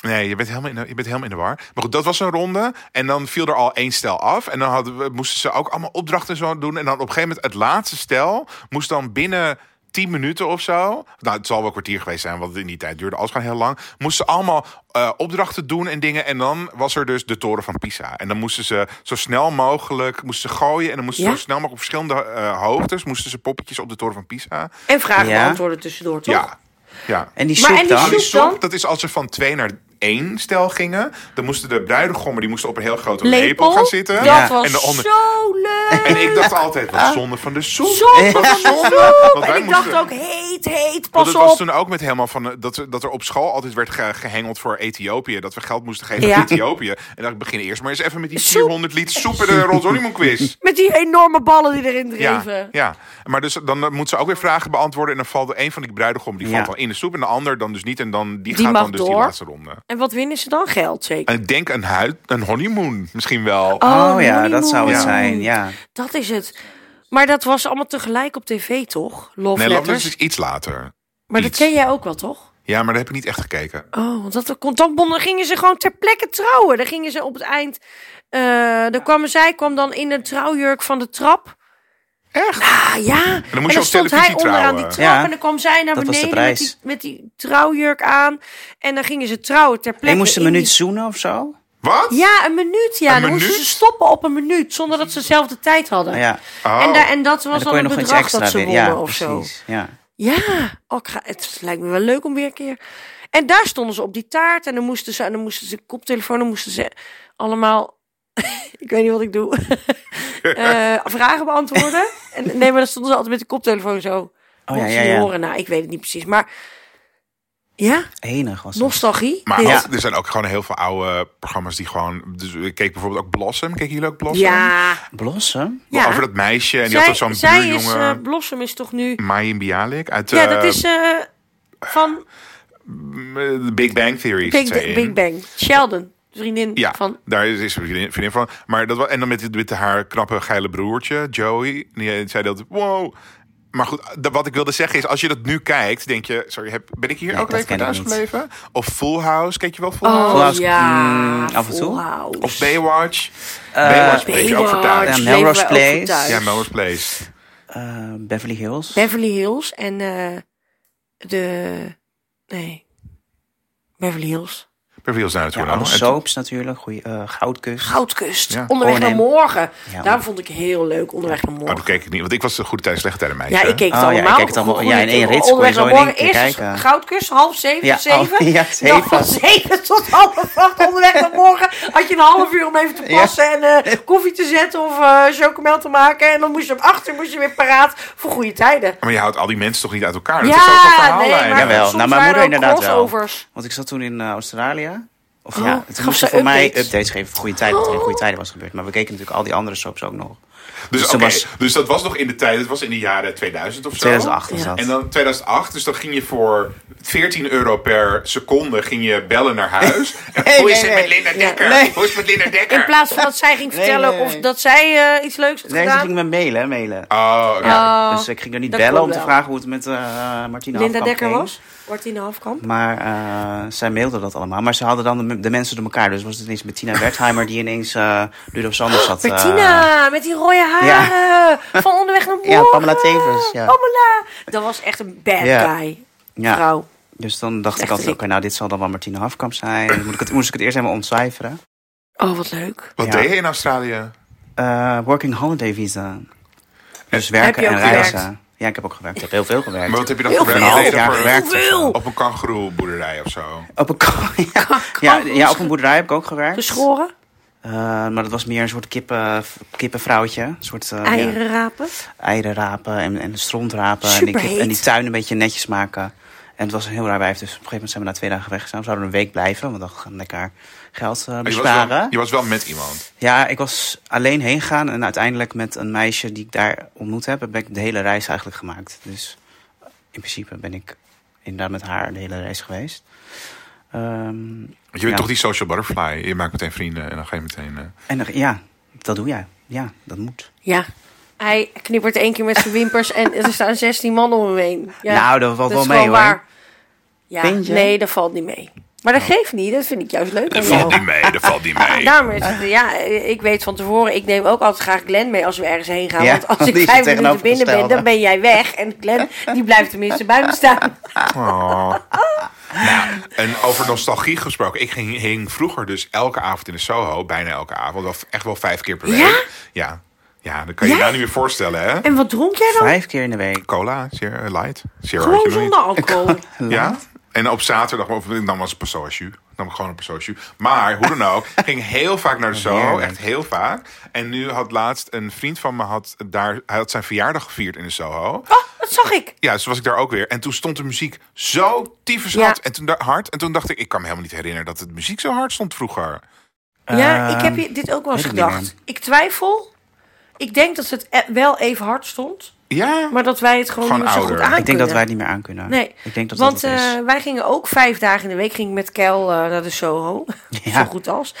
B: Nee, je bent, helemaal in de, je bent helemaal in de war. Maar goed, dat was een ronde. En dan viel er al één stel af. En dan hadden we, moesten ze ook allemaal opdrachten en zo doen. En dan op een gegeven moment het laatste stel moest dan binnen 10 minuten of zo. Nou, het zal wel een kwartier geweest zijn, want in die tijd duurde alles gewoon heel lang. Moesten ze allemaal eh, opdrachten doen en dingen. En dan was er dus de Toren van Pisa. En dan moesten ze zo snel mogelijk moesten ze gooien. En dan moesten ze
A: Ja?
B: zo snel mogelijk op verschillende eh, hoogtes. Moesten ze poppetjes op de Toren van Pisa.
A: En vragen
C: Ja.
A: beantwoorden tussendoor, toch?
B: Ja. Ja.
C: En die
A: Maar
C: soep
A: en die
C: dan?
B: Nou, die
A: soep- dan?
B: sop, dat is als ze van twee naar één stel gingen. Dan moesten de bruidegommen die moesten op een heel grote lepel,
A: Lepel.
B: gaan zitten.
A: Dat
C: Ja.
A: was
B: En de onder-
A: zo leuk.
B: En ik dacht altijd, wat zonde van de soep.
A: Zonde van de soep.
B: Want wij
A: En ik
B: moesten-
A: dacht ook, heet, heet,
B: Want
A: pas
B: het
A: op.
B: was toen ook met helemaal van eh, dat, we- dat er op school altijd werd ge- gehengeld voor Ethiopië. Dat we geld moesten geven
A: Ja.
B: aan Ethiopië. En dan dacht ik begin eerst maar eens even met die
A: Soep.
B: 400 liter soep en de Ron quiz.
A: Met die enorme ballen die erin dreven.
B: Ja, ja, maar dus dan eh, moet ze ook weer vragen beantwoorden. En dan valt een van die bruidegommen die
C: Ja.
B: valt al in de soep. En de ander dan dus niet. En dan, die,
A: Die
B: gaat
A: mag
B: dan dus die
A: door.
B: laatste ronde.
A: En wat winnen ze dan? Geld zeker.
B: En denk een, huid, een honeymoon misschien wel.
C: Oh ja, dat zou het
B: Ja.
C: zijn, ja.
B: Eh.
A: Dat is het. Maar dat was allemaal tegelijk op tv, toch? Love
B: Nee,
A: Letters.
B: Letters is iets later.
A: maar dat
B: iets.
A: ken jij ook wel, toch?
B: Ja, maar daar heb ik niet echt gekeken.
A: Oh, want dat kon, dan bonden- gingen ze gewoon ter plekke trouwen. Dan gingen ze op het eind... eh dan kwamen zij kwam dan in een trouwjurk van de trap.
B: Echt?
A: Ah, ja. En
B: je op
A: stond
B: televisie
A: hij onderaan
B: trouwen.
A: die trap.
C: Ja.
A: En dan kwam zij naar
C: Dat was de
A: beneden met die,
C: prijs.
A: met die trouwjurk aan. En dan gingen ze trouwen ter plekke.
C: En moest een
A: in die-
C: minuut zoenen of zo?
B: Wat?
A: Ja, een minuut. Ja,
B: Een
A: dan moesten
B: minuut?
A: ze stoppen op een minuut. Zonder dat ze dezelfde tijd hadden.
C: Nou ja.
B: Oh.
A: En, daar- en dat was
C: En dan
A: dan,
C: kon je
A: het
C: nog iets
A: bedrag
C: extra
A: dat ze
C: winnen.
A: wonnen
C: Ja,
A: of zo.
C: precies. Ja.
A: Ja, oh, ik ga- het lijkt me wel leuk om weer een keer. En daar stonden ze op die taart en dan moesten ze, en dan moesten ze koptelefoon, dan moesten ze allemaal, ik weet niet wat ik doe, Eh, vragen beantwoorden. En, nee, maar dan stonden ze altijd met de koptelefoon zo.
C: Oh ja,
A: Mochten
C: ja,
A: ze niet
C: ja.
A: horen, nou, ik weet het niet precies. Maar ja,
C: Enig was dat.
A: nostalgie.
B: Maar
A: Dit.
B: als- er zijn ook gewoon heel veel oude programma's die gewoon... Dus ik keek bijvoorbeeld ook Blossom. Keken jullie ook Blossom?
A: ja,
C: Blossen?
A: ja.
B: Over dat meisje. En die
A: zij,
B: had dan zo'n
A: zij is,
B: buurjongen.
A: eh, Blossom is toch nu,
B: Mayim Bialik. Uit
A: ja, dat
B: eh,
A: is eh, van
B: de ehm, eh, Big Bang Theory.
A: Big,
B: zit zij in.
A: Big Bang, Sheldon, vriendin
B: Ja,
A: van
B: daar is, is een vriendin, vriendin van. Maar dat, wa- en dan met, met haar knappe geile broertje, Joey. Die eh, zei dat, wow. Maar goed, de- wat ik wilde zeggen is, als je dat nu kijkt, denk je... Sorry, heb, ben ik hier
C: Nee,
B: ook
C: dat
B: een keer
C: ken ik
B: thuis
C: niet.
B: gebleven? Of Full House, kijk je wel Full
A: Oh
B: House?
C: House,
A: ja,
C: mm, af en toe.
A: Full House.
B: Of Baywatch? Baywatch bleef je ook
A: Baywatch.
B: vertaald.
C: eh, Ja,
A: Leven
C: Melrose
A: we ook
C: Place.
A: vertuigd.
B: Ja, Melrose Place.
C: Eh, Beverly Hills?
A: Beverly Hills en eh, de... Nee. Beverly Hills.
B: Beverly Hills naar
C: ja, oh,
B: naartoe.
C: alle
B: nou. En
C: soaps natuurlijk. Goeie, eh, Goudkust.
A: Goudkust.
B: Ja.
A: Onderweg
C: Oh, nee.
A: naar morgen.
C: Ja.
A: Daarom vond ik heel leuk Onderweg naar
B: toen- Oh, dat
A: morgen.
B: keek ik niet, want ik was de goede tijd, slechte tijd meisje.
A: Ja, ik keek het
C: Oh, ja, ik
A: allemaal.
C: keek het allemaal-
A: Goede
C: ja, in één
A: tip.
C: rits kon je
A: Onderweg
C: zo
A: naar
C: in één
A: morgen.
C: keer
A: Eerst
C: kijken.
A: Goudkust, half zeven,
C: Ja,
A: tot zeven.
C: oh, ja,
A: Dan van
C: zeven.
A: zeven tot half acht. Onderweg naar morgen had je een half uur om even te
C: Ja.
A: passen en eh, koffie te zetten of eh chocomel te maken. En dan moest je op acht uur moest je weer paraat voor goede tijden.
B: Maar je houdt al die mensen toch niet uit elkaar? Dat is ook zo'n verhaallijn.
A: maar
C: Jawel,
A: soms
C: nou, mijn
A: waren
C: moeder
A: er ook
C: inderdaad wel.
A: crossovers.
C: Want ik zat toen in eh, Australië. Of
A: Oh,
C: ja,
A: gaf
C: toen moest
A: ze
C: ze voor mij
A: updates?
C: updates geven. Goede tijden, dat er geen
A: Oh.
C: goede tijden was gebeurd. Maar we keken natuurlijk al die andere soaps ook nog.
B: Dus,
C: Dus toen
B: oké,
C: was-
B: dus dat was nog in de tijd, het was in de jaren 2000 of zo.
C: 2008 was
A: Ja.
C: dat.
B: En dan 2008, dus dan ging je voor 14 euro per seconde ging je bellen naar huis. En hoe is het
C: nee,
B: met Linda Dekker?
C: Nee.
B: Hoe is het met Linda Dekker?
A: In plaats van dat zij ging
C: Nee,
A: vertellen
C: nee, nee.
A: of dat zij eh, iets leuks had
C: nee, ze
A: gedaan.
C: ging me mailen, hè, mailen.
B: Oh, oké.
A: Oh,
C: dus ik ging er niet
A: dat
C: bellen
A: kon
C: om te
A: wel.
C: vragen hoe het met eh, eh Martina
A: Linda
C: Afkamp
A: Dekker
C: ging.
A: was. Martine Hafkamp.
C: Maar eh, zij mailden dat allemaal. Maar ze hadden dan de, de mensen door elkaar. Dus was het ineens Bettina Wertheimer die ineens eh Rudolf Sanders zat. eh,
A: Martina, met die rode haren. Van onderweg naar morgen.
C: Ja, Pamela Tevens, ja.
A: Pamela. Dat was echt een bad
C: Ja.
A: guy.
C: ja.
A: Vrouw.
C: Dus dan dacht ik
A: Echt
C: altijd,
A: een-
C: oké, nou dit zal dan wel Martina Hafkamp zijn. Moet ik het, moest ik het eerst helemaal ontcijferen.
A: Oh, wat leuk.
B: Wat
C: ja.
B: deed je in Australië?
C: Eh, working holiday visa. Dus werken
A: je ook
C: en reizen.
A: gewerkt?
C: Ja, ik heb ook gewerkt. Ik heb heel veel gewerkt.
B: Maar wat heb je dan
A: Heel
B: gedaan?
A: veel.
B: Deed je
C: Ja,
B: dat voor-
C: gewerkt.
A: Hoeveel?
B: Op een kangeroeboerderij of zo.
C: Op een, ko- ja, ja, ja, op een boerderij heb ik ook gewerkt.
A: Dus Geschoren.
C: Eh, maar dat was meer een soort kippen, kippenvrouwtje. Een soort
A: Ah,
C: eh, ja,
A: Eieren rapen.
C: eieren rapen en, en stront rapen. En die, kip- en die
A: Superheet.
C: tuin een beetje netjes maken. En het was een heel raar wijf, dus op een gegeven moment zijn we na twee dagen weggegaan. We zouden een week blijven, want dan gaan we lekker geld eh,
B: Je was, wel,
C: besparen.
B: je was wel met iemand.
C: Ja, ik was alleen heen gegaan en uiteindelijk met een meisje die ik daar ontmoet heb, heb ik de hele reis eigenlijk gemaakt. Dus in principe ben ik inderdaad met haar de hele reis geweest. Ehm,
B: Want je bent
C: Ja.
B: toch die social butterfly. Je maakt meteen vrienden en dan ga je meteen... eh,
C: en dan- ja, dat doe jij. Ja, dat moet.
A: Ja. Hij knippert één keer met zijn wimpers en er staan 16 man om hem heen. Ja,
C: nou, dat valt
A: dat
C: wel
A: is
C: mee
A: gewoon
C: hoor.
A: waar. Ja,
C: Vind je? Oh.
A: nee, dat valt niet mee. Maar dat geeft niet, dat vind ik juist leuk.
B: dat
A: aan
B: valt
A: jou.
B: niet mee, dat valt niet mee.
A: Daarom is het- ja, ik weet van tevoren, ik neem ook altijd graag Glenn mee als we ergens heen gaan.
C: Ja,
A: want als
C: die
A: ik
C: is het
A: vijf minuten binnen ben,
C: tegenovergestelde.
A: dan ben jij weg. En Glenn, die blijft tenminste bij me staan.
B: Oh. nou, en over nostalgie gesproken. Ik ging, hing vroeger dus elke avond in de Soho. Bijna elke avond. Of echt wel vijf keer per week.
A: Ja?
B: Ja, ja dat kan je
A: Ja?
B: nou niet meer voorstellen, hè?
A: En wat dronk jij dan?
C: Vijf keer in de week.
B: Cola, zeer eh, light. Zero had je
A: Gewoon
B: nog niet.
A: zonder alcohol.
B: Ja. En op zaterdag of, ik nam was een persoon nam ik gewoon een persoon Maar hoe dan ook, ging heel vaak naar de Soho,
C: Heerlijk.
B: echt heel vaak. En nu had laatst een vriend van me had daar, hij had zijn verjaardag gevierd in de Soho.
A: Oh, dat zag ik.
B: Ja, dus was ik daar ook weer. En toen stond de muziek zo tyfus hard.
A: Ja.
B: En toen da- hard. En toen dacht ik, ik kan me helemaal niet herinneren dat de muziek zo hard stond vroeger.
A: Ja, ik heb
C: Ehm,
A: je- dit ook wel eens
C: weet ik niet
A: gedacht. Ik twijfel. Ik denk dat het e- wel even hard stond.
B: Ja.
A: Maar dat wij het gewoon,
B: Gewoon
A: niet meer zo
B: ouder.
A: goed aan
C: Ik denk dat wij
A: kunnen.
C: het niet meer aan kunnen.
A: Nee,
C: Ik denk dat
A: want
C: dat het is.
A: eh, wij gingen ook vijf dagen in de week ging ik met Kel eh, naar de Soho.
C: Ja.
A: Zo goed als.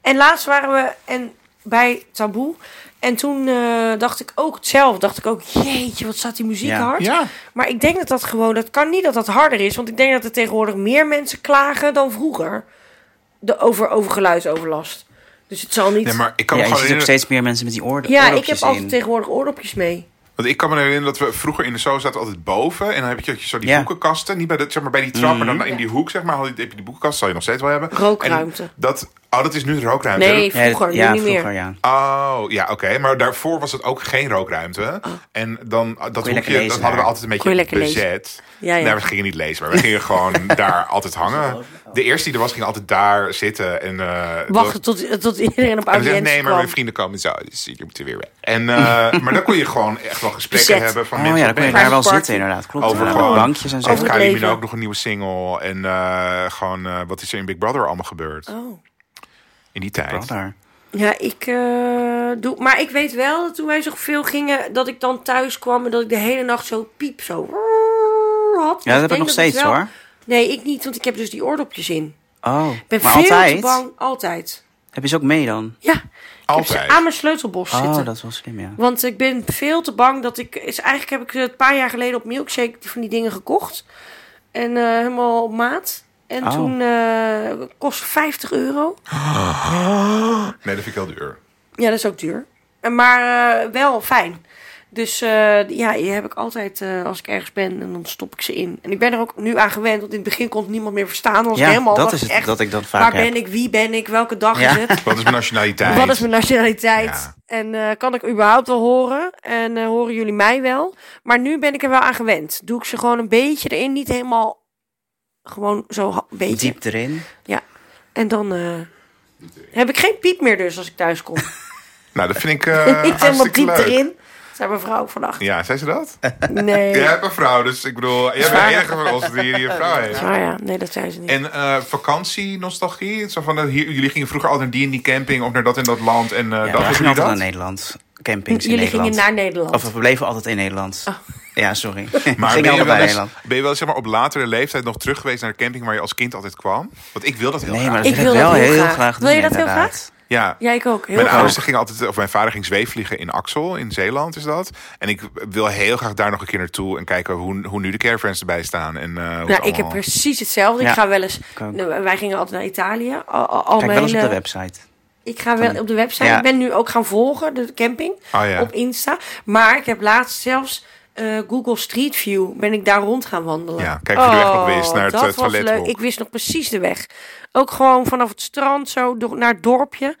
A: En laatst waren we en bij Taboe. En toen eh, dacht ik ook hetzelfde. Dacht ik ook, jeetje, wat staat die muziek
C: Ja.
A: hard.
B: Ja.
A: Maar ik denk dat dat gewoon, dat kan niet dat dat harder is. Want ik denk dat er tegenwoordig meer mensen klagen dan vroeger. De over, over geluidsoverlast. Dus het zal niet...
B: Nee, maar ik kan
C: ja,
B: me
C: je
B: gewoon
C: ziet ook
B: herinneren,
C: steeds meer mensen met die oorden.
A: ja, ik
C: oordopjes
A: heb altijd
C: in.
A: tegenwoordig oordopjes mee.
B: want ik kan me herinneren dat we vroeger in de Soho zaten altijd boven. En dan heb je, had je zo die
C: Ja. Mhm.
B: boekenkasten. Niet bij, de, zeg maar, bij die trap, maar dan in die hoek zeg maar. had je- Heb je die boekenkast, zal je nog steeds wel hebben.
A: Rookruimte.
B: En dat, oh, dat is nu de rookruimte.
A: Nee,
C: Ja,
A: vroeger,
C: ja,
A: nu niet
C: vroeger,
A: meer.
C: ja.
B: Oh, ja, oké. Maar daarvoor was het ook geen rookruimte. En dan, dat
C: lekker
B: hoekje, dat
C: lezen
B: hadden we
C: daar.
B: altijd een
A: Kon je
B: beetje
A: lekker lezen.
B: bezet.
A: Ja, ja.
B: Nee, we gingen niet lezen, maar we gingen gewoon daar altijd hangen. De eerste die er was, ging altijd daar zitten. En, eh,
A: Wachten tot, tot iedereen op
B: en dan zei,
A: audiëntie
B: nee, maar
A: kwam.
B: mijn vrienden komen zo. Dus jullie moeten weer weg. En, eh, maar dan kon je gewoon echt wel gesprekken
A: Bezet.
B: hebben van
C: Oh
B: mensen.
C: ja, dan kon je
B: op
C: daar wel
A: Private
C: zitten
A: party.
C: inderdaad. Klopt.
B: over
C: Over
B: gewoon
C: bankjes en zo.
A: Over het
B: Kylie
A: leven.
B: Minogue nog een nieuwe single. En eh, gewoon, eh, wat is er in Big Brother allemaal gebeurd?
A: Oh.
B: In die tijd.
C: Brother.
A: Ja, ik eh, doe. Maar ik weet wel dat toen wij zo veel gingen, dat ik dan thuis kwam en dat ik de hele nacht zo piep zo. had.
C: Ja, dat heb ik
A: denk
C: nog
A: het
C: steeds
A: wel-
C: hoor.
A: Nee, ik niet, want ik heb dus die oordopjes in.
C: Oh,
A: Ik ben
C: maar
A: veel
C: altijd?
A: te bang. Altijd.
C: Heb je ze ook mee dan?
A: Ja, ik heb ze
B: Altijd.
A: aan mijn sleutelbos
C: Oh,
A: zitten.
C: dat is wel slim, ja.
A: Want ik ben veel te bang dat ik. Is, eigenlijk heb ik ze een paar jaar geleden op Milkshake die- van die dingen gekocht. En eh, helemaal op maat. En
C: Oh.
A: toen eh kostte 50 euro.
B: Nee, dat vind ik heel duur.
A: Ja, dat is ook duur. En Maar eh, wel fijn. Dus eh, ja, die heb ik altijd eh, als ik ergens ben en dan stop ik ze in. En ik ben er ook nu aan gewend, want in het begin kon het niemand meer verstaan. Dan was
C: Ja,
A: ik helemaal
C: dat
A: was
C: is het,
A: echt,
C: dat ik dat
A: Waar
C: vaak heb.
A: ben ik, wie ben ik, welke dag
C: Ja.
A: is het?
B: Wat is mijn nationaliteit?
A: Wat is mijn nationaliteit?
B: Ja.
A: En eh, kan ik überhaupt wel horen? En eh, horen jullie mij wel? Maar nu ben ik er wel aan gewend. Doe ik ze gewoon een beetje erin, niet helemaal gewoon zo ha- een beetje.
C: Diep erin.
A: En dan eh, heb ik geen piep meer dus als ik thuis kom.
B: Nou, dat vind ik eh
A: niet helemaal
B: hartstikke
A: diep
B: leuk.
A: erin. Zei mijn vrouw vannacht.
B: Ja, zei ze dat?
C: Eh.
A: Nee.
B: Jij hebt een vrouw, dus ik bedoel, jij bent de enige van ons die hier een vrouw heeft.
A: Nou ja, nee, dat zei ze niet.
B: En eh, vakantie, nostalgie? Zo van, eh, hier, jullie gingen vroeger altijd naar die en die camping of naar dat en dat land en eh,
C: Ja,
B: dat
C: we
B: was
C: gingen
B: nu
C: altijd naar
B: dat.
C: Nederland. Campings in
A: Jullie
C: Nederland.
A: gingen naar Nederland.
B: eh,
C: Of we bleven altijd in Nederland. Ja, sorry.
B: Maar
C: Maar
B: ben
C: gingen
B: je,
C: altijd
B: wel
C: naar
B: eens,
C: Nederland.
B: ben je wel zeg maar, op latere leeftijd nog terug geweest naar de camping waar je als kind altijd kwam? Want ik wil dat heel
C: Nee,
B: graag.
C: maar dat
A: Ik
C: wil
A: wil
C: ik wel
A: dat heel
C: heel
A: graag.
C: graag,
A: Wil
C: doen,
A: je dat heel graag?
C: inderdaad.
B: Ja.
A: Jij ik ook. Heel
B: Mijn
A: graag.
B: ouders gingen altijd, of mijn vader ging zweefvliegen in Axel in Zeeland is dat. En ik wil heel graag daar nog een keer naartoe en kijken hoe, hoe nu de caravans erbij staan. En, eh, hoe het
A: Nou, ik heb
B: allemaal-
A: precies hetzelfde.
C: Ja,
A: Ik ga wel eens.
C: ik ook.
A: Nou, wij gingen altijd naar Italië. Al, al, al
C: Kijk
A: mijn
C: wel eens op de
A: hele-
C: website.
A: Ik ga wel op de website.
C: Ja.
A: Ik ben nu ook gaan volgen, de camping.
B: Oh ja.
A: Op Insta. Maar ik heb laatst zelfs eh, Google Street View. Ben ik daar rond gaan wandelen. Oh,
B: Ja, kijk of je de weg nog wist naar het,
A: dat
B: eh,
A: was
B: toiletblok.
A: leuk. Ik wist nog precies de weg. Ook gewoon vanaf het strand zo door, naar het dorpje.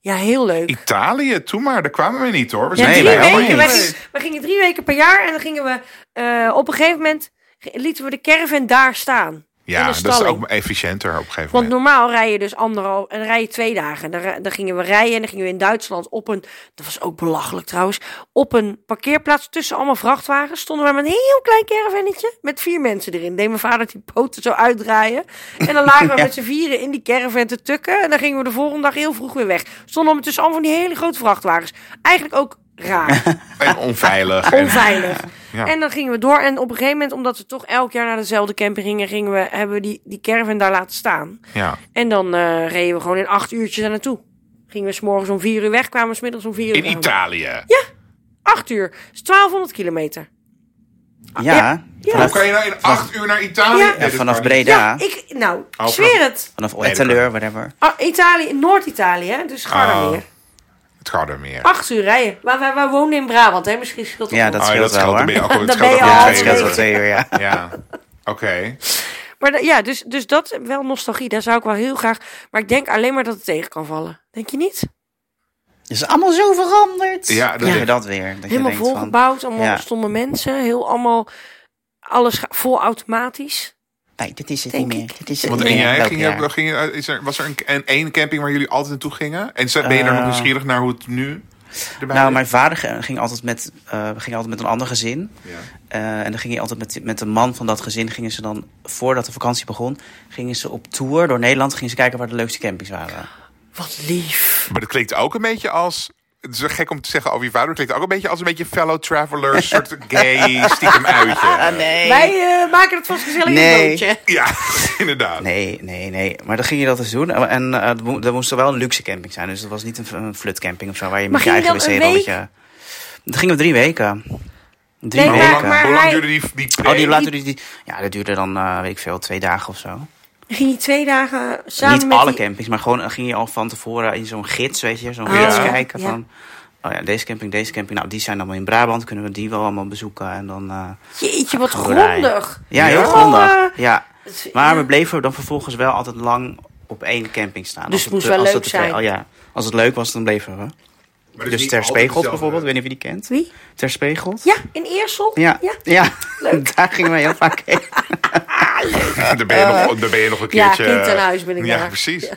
A: Ja, heel leuk.
B: Italië, toen maar, daar kwamen we niet hoor. We
A: Ja,
B: zijn
C: Nee,
A: drie
C: wij helemaal
A: weken.
C: niet.
A: Wij gingen, wij gingen drie weken per jaar en dan gingen we eh, op een gegeven moment ge- lieten we de caravan daar staan. in
B: Ja,
A: de
B: dat is
A: stalling.
B: ook efficiënter op een gegeven
A: Want
B: moment.
A: normaal rij je dus anderhalf en rij je twee dagen. Dan, ra- dan gingen we rijden en dan gingen we in Duitsland op een, dat was ook belachelijk trouwens, op een parkeerplaats tussen allemaal vrachtwagens stonden we met een heel klein caravannetje met vier mensen erin. Deed mijn vader die poten zo uitdraaien. En dan lagen we met z'n vieren in die caravan te tukken en dan gingen we de volgende dag heel vroeg weer weg. Stonden we tussen allemaal van die hele grote vrachtwagens. Eigenlijk ook raar.
B: En onveilig. en-
A: Onveilig.
B: Ja.
A: En dan gingen we door. En op een gegeven moment, omdat we toch elk jaar naar dezelfde camping gingen, gingen we, hebben we die, die caravan daar laten staan.
B: ja.
A: En dan eh, reden we gewoon in acht uurtjes daar naartoe. Gingen we s'morgens om vier uur weg, kwamen we s'middags om vier uur
B: In
A: aan.
B: Italië.
A: Acht uur. Dat is 1200 kilometer.
C: Ja,
B: Hoe
C: vanaf,
B: kan je nou in acht uur naar Italië?
A: Ja.
B: Nee,
A: Ja,
B: dat
C: vanaf
B: kan niet.
C: Breda,
A: Ja, ik, nou, ik
B: vanaf-
A: zweer het.
C: vanaf
B: dat kan.
C: Etteleur, whatever.
A: Ah, Italië, Noord-Italië, hè, dus Gardameer.
B: Oh. Het Gardermeer.
A: Acht uur rijden. Maar wij, wij wonen in Brabant, hè? misschien scheelt het
C: Ja,
A: nog.
C: dat
B: Oh,
C: scheelt wel,
B: Dan
C: hoor.
B: ben je ook al-
A: Dan
B: dat
A: ben
B: scheelt
A: je
B: ook
A: al
B: al
C: Ja,
A: twee
C: dat scheelt
A: weken.
C: wel twee uur, ja.
B: Ja, oké.
A: Maar da- ja, dus, dus dat, wel nostalgie, daar zou ik wel heel graag... Maar ik denk alleen maar dat het tegen kan vallen. Denk je niet?
C: Het is allemaal zo veranderd.
B: Ja, dat
C: dat,
B: is-
C: dat weer.
A: Helemaal
C: Dat je denkt van,
A: volgebouwd, allemaal
C: ja.
A: stomme mensen. Heel allemaal, alles ga- vol automatisch.
C: nee, dit is het
A: Denk
C: niet meer.
A: ik.
C: Dit is het
B: Want
C: niet
B: en
C: meer.
B: jij,
C: Welk
B: ging,
C: jaar?
B: je- ging, je- is er, was er een, een, één camping waar jullie altijd naartoe gingen? En zo- ben je daar nog
C: Eh,
B: nieuwsgierig naar hoe het nu erbij
C: Nou,
B: is?
C: mijn vader ge- ging altijd met, eh, ging altijd met een ander gezin.
B: Ja.
C: Eh, en dan ging hij altijd met, met de man van dat gezin. Gingen ze dan, voordat de vakantie begon, gingen ze op tour door Nederland. Gingen ze kijken waar de leukste campings waren.
A: Wat lief.
B: Maar dat klinkt ook een beetje als... Het is gek om te zeggen over je vader. Het klinkt ook een beetje als een beetje fellow traveler, soort gay stiekem uitje.
A: Ah, Wij eh, maken het vast gezellig in een
C: Nee.
A: bootje.
B: Ja, inderdaad.
C: Nee, nee, nee. Maar dan ging je dat dus doen. En eh, het mo- dat moest wel een luxe camping zijn. Dus dat was niet een, v- een flutcamping of zo, waar je
A: Maar
C: met je
A: ging je
C: eigen
A: dan een
C: wc-rolletje... Dat gingen we drie weken. Drie
A: Nee,
B: Maar
A: Ja,
B: hoe
C: weken.
B: lang,
A: maar
B: hoe lang
A: hij-
B: duurde die, die
C: Oh, die
B: pre-
C: laten die, die- Ja, dat duurde dan, eh, weet ik veel, twee dagen of zo.
A: Ging je twee dagen samen
C: Niet
A: met
C: alle
A: die...
C: campings, maar gewoon eh, ging je al van tevoren in zo'n gids, weet je, zo'n
A: Oh,
C: gids
B: ja.
C: kijken
A: ja.
C: van... Oh ja, deze camping, deze camping. Nou, die zijn allemaal in Brabant. Kunnen we die wel allemaal bezoeken? En dan... eh,
A: Jeetje, wat
C: gaan we rijden.
A: grondig.
C: Ja, heel
B: Ja?
C: grondig.
A: Oh, eh,
C: ja.
A: Het-
C: Maar
A: ja.
C: we bleven dan vervolgens wel altijd lang op één camping staan.
A: Dus
C: Als
A: het moest
C: te-
A: wel
C: als
A: leuk
C: te-
A: zijn.
C: Oh ja, als het leuk was, dan bleven we.
B: Maar
C: Dus,
B: is niet
C: Ter
B: altijd
C: Spegelt
B: dezelfde-
C: bijvoorbeeld, ik weet niet of je die kent.
A: Wie?
C: Ter Spegelt?
A: Ja, in Eersel.
C: Ja,
A: Ja.
C: ja. daar gingen we heel vaak heen.
B: Ja, daar, ben je nog, daar ben je nog een
A: Ja,
B: keertje...
A: kind aan huis ben ik
B: Ja,
A: daar.
B: precies.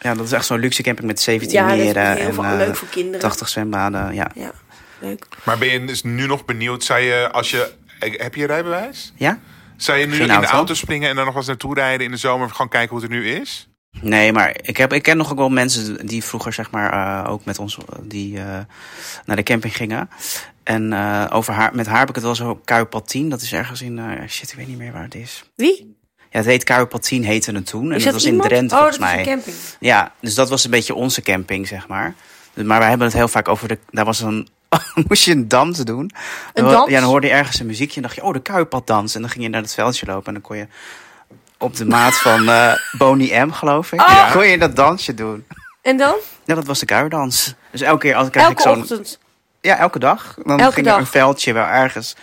C: Ja, dat is echt zo'n luxe camping met 17
A: Ja, dat is
C: meren
A: heel
C: en
A: veel-
C: eh,
A: leuk voor kinderen.
C: 80 zwembaden. Ja?
A: Ja, leuk.
B: Maar ben je dus nu nog benieuwd, zou je, als je... Heb je je rijbewijs?
C: ja?
B: Zou je nu
C: Geen
B: in de
C: auto.
B: auto springen en daar nog eens naartoe rijden in de zomer? Gewoon kijken hoe het er nu is?
C: Nee, maar ik, heb, ik ken nog ook wel mensen die vroeger zeg maar eh, ook met ons eh, die, eh, naar de camping gingen. En eh, over haar, met haar heb ik het wel zo Kuipaltien. Dat is ergens in, eh, shit, ik weet niet meer waar het is.
A: Wie?
C: Ja, het heet Kuipaltien heette het toen. En
A: Is
C: dat
A: dat
C: was
A: iemand?
C: in Drenthe
A: Oh,
C: volgens
A: dat is
C: mij.
A: een camping.
C: Ja, dus dat was een beetje onze camping, zeg maar. Dus- Maar wij hebben het heel vaak over de. Daar was een. moest je een dans doen.
A: Een
C: Dan-
A: dans?
C: Ja, dan hoorde je ergens een muziekje en dacht je, oh, de kuipaddans. En dan ging je naar het veldje lopen en dan kon je. Op de maat van eh Boney M, geloof ik.
A: Oh.
C: Kon je dat dansje doen?
A: En dan?
C: Ja, dat was de kuierdans. Dus elke keer als kreeg ik
A: Elke
C: zo'n.
A: ochtend.
C: Ja, elke dag. Dan
A: Elke
C: ging
A: dag.
C: er een veldje wel ergens.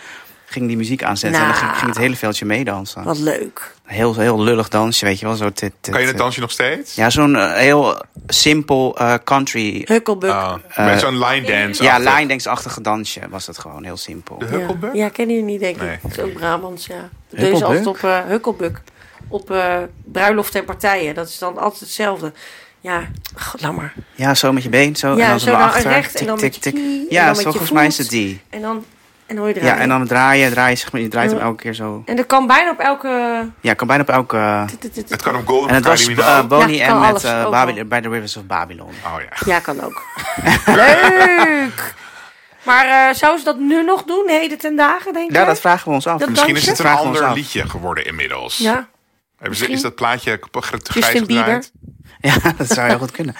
C: Ging die muziek aanzetten en dan
A: Nou.
C: ging, ging het hele veldje meedansen.
A: Wat leuk.
C: Heel, heel lullig dansje, weet je wel. Zo tit, tit,
B: Kan je dat
C: tit.
B: dansje nog steeds?
C: Ja, zo'n eh, heel simpel eh, country
A: Hukkelbuk.
B: Ah, met zo'n line dance.
C: Eh, Ja,
B: achter.
C: lijndenksachtige dansje was dat gewoon, heel simpel.
B: De
A: Ja.
B: Hukkelbuk?
A: Ja, kennen jullie niet, denk ik.
B: Nee.
A: Dat is ook Brabants, ja. Deze
C: Hukkelbuk?
A: altijd op eh, Hukkelbuk. Op eh bruiloften en partijen. Dat is dan altijd hetzelfde. Ja, god, laat maar.
C: Ja, zo met je been, zo.
A: Ja,
C: en dan
A: zo
C: zo naar
A: naar
C: achter.
A: rechts en dan met je knie en
C: Ja,
A: dan met
C: zo,
A: je
C: volgens mij is
A: voet.
C: het die.
A: En dan, en hoor je
C: Ja,
A: draaien.
C: en dan draaien, draaien, zeg maar, je draait hem
A: Ja.
C: elke keer zo.
A: En dat kan bijna op elke...
C: Ja, kan bijna op elke...
B: Het kan op Golden
C: En het was
B: Cardinal.
C: eh Bonnie
A: Ja, kan
C: en met
A: alles,
C: eh,
A: overal.
C: Babylon, bij de Rivers of Babylon.
B: Oh ja.
A: Ja, kan ook. Leuk! Maar eh, zou ze dat nu nog doen, heden ten dagen, denk je?
C: Ja, dat vragen we ons af.
A: Dat
B: Misschien is het een
C: Vragen we ons
B: ander
C: af.
B: liedje geworden inmiddels.
A: Ja.
B: Hebben ze,
A: misschien.
B: is dat plaatje kap- gr- grijs
A: Justin Bieber.
B: gedraaid?
C: Ja, dat zou heel goed kunnen.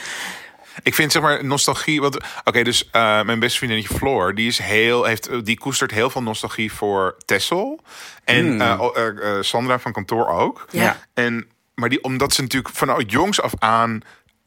B: Ik vind zeg maar nostalgie. want- Oké, dus eh, mijn beste vriendinnetje Floor, die, is heel, heeft, die koestert heel veel nostalgie voor Tessel. En eh, o- eh, eh, Sandra van kantoor ook.
A: Ja.
B: En, maar die, omdat ze natuurlijk vanuit jongs af aan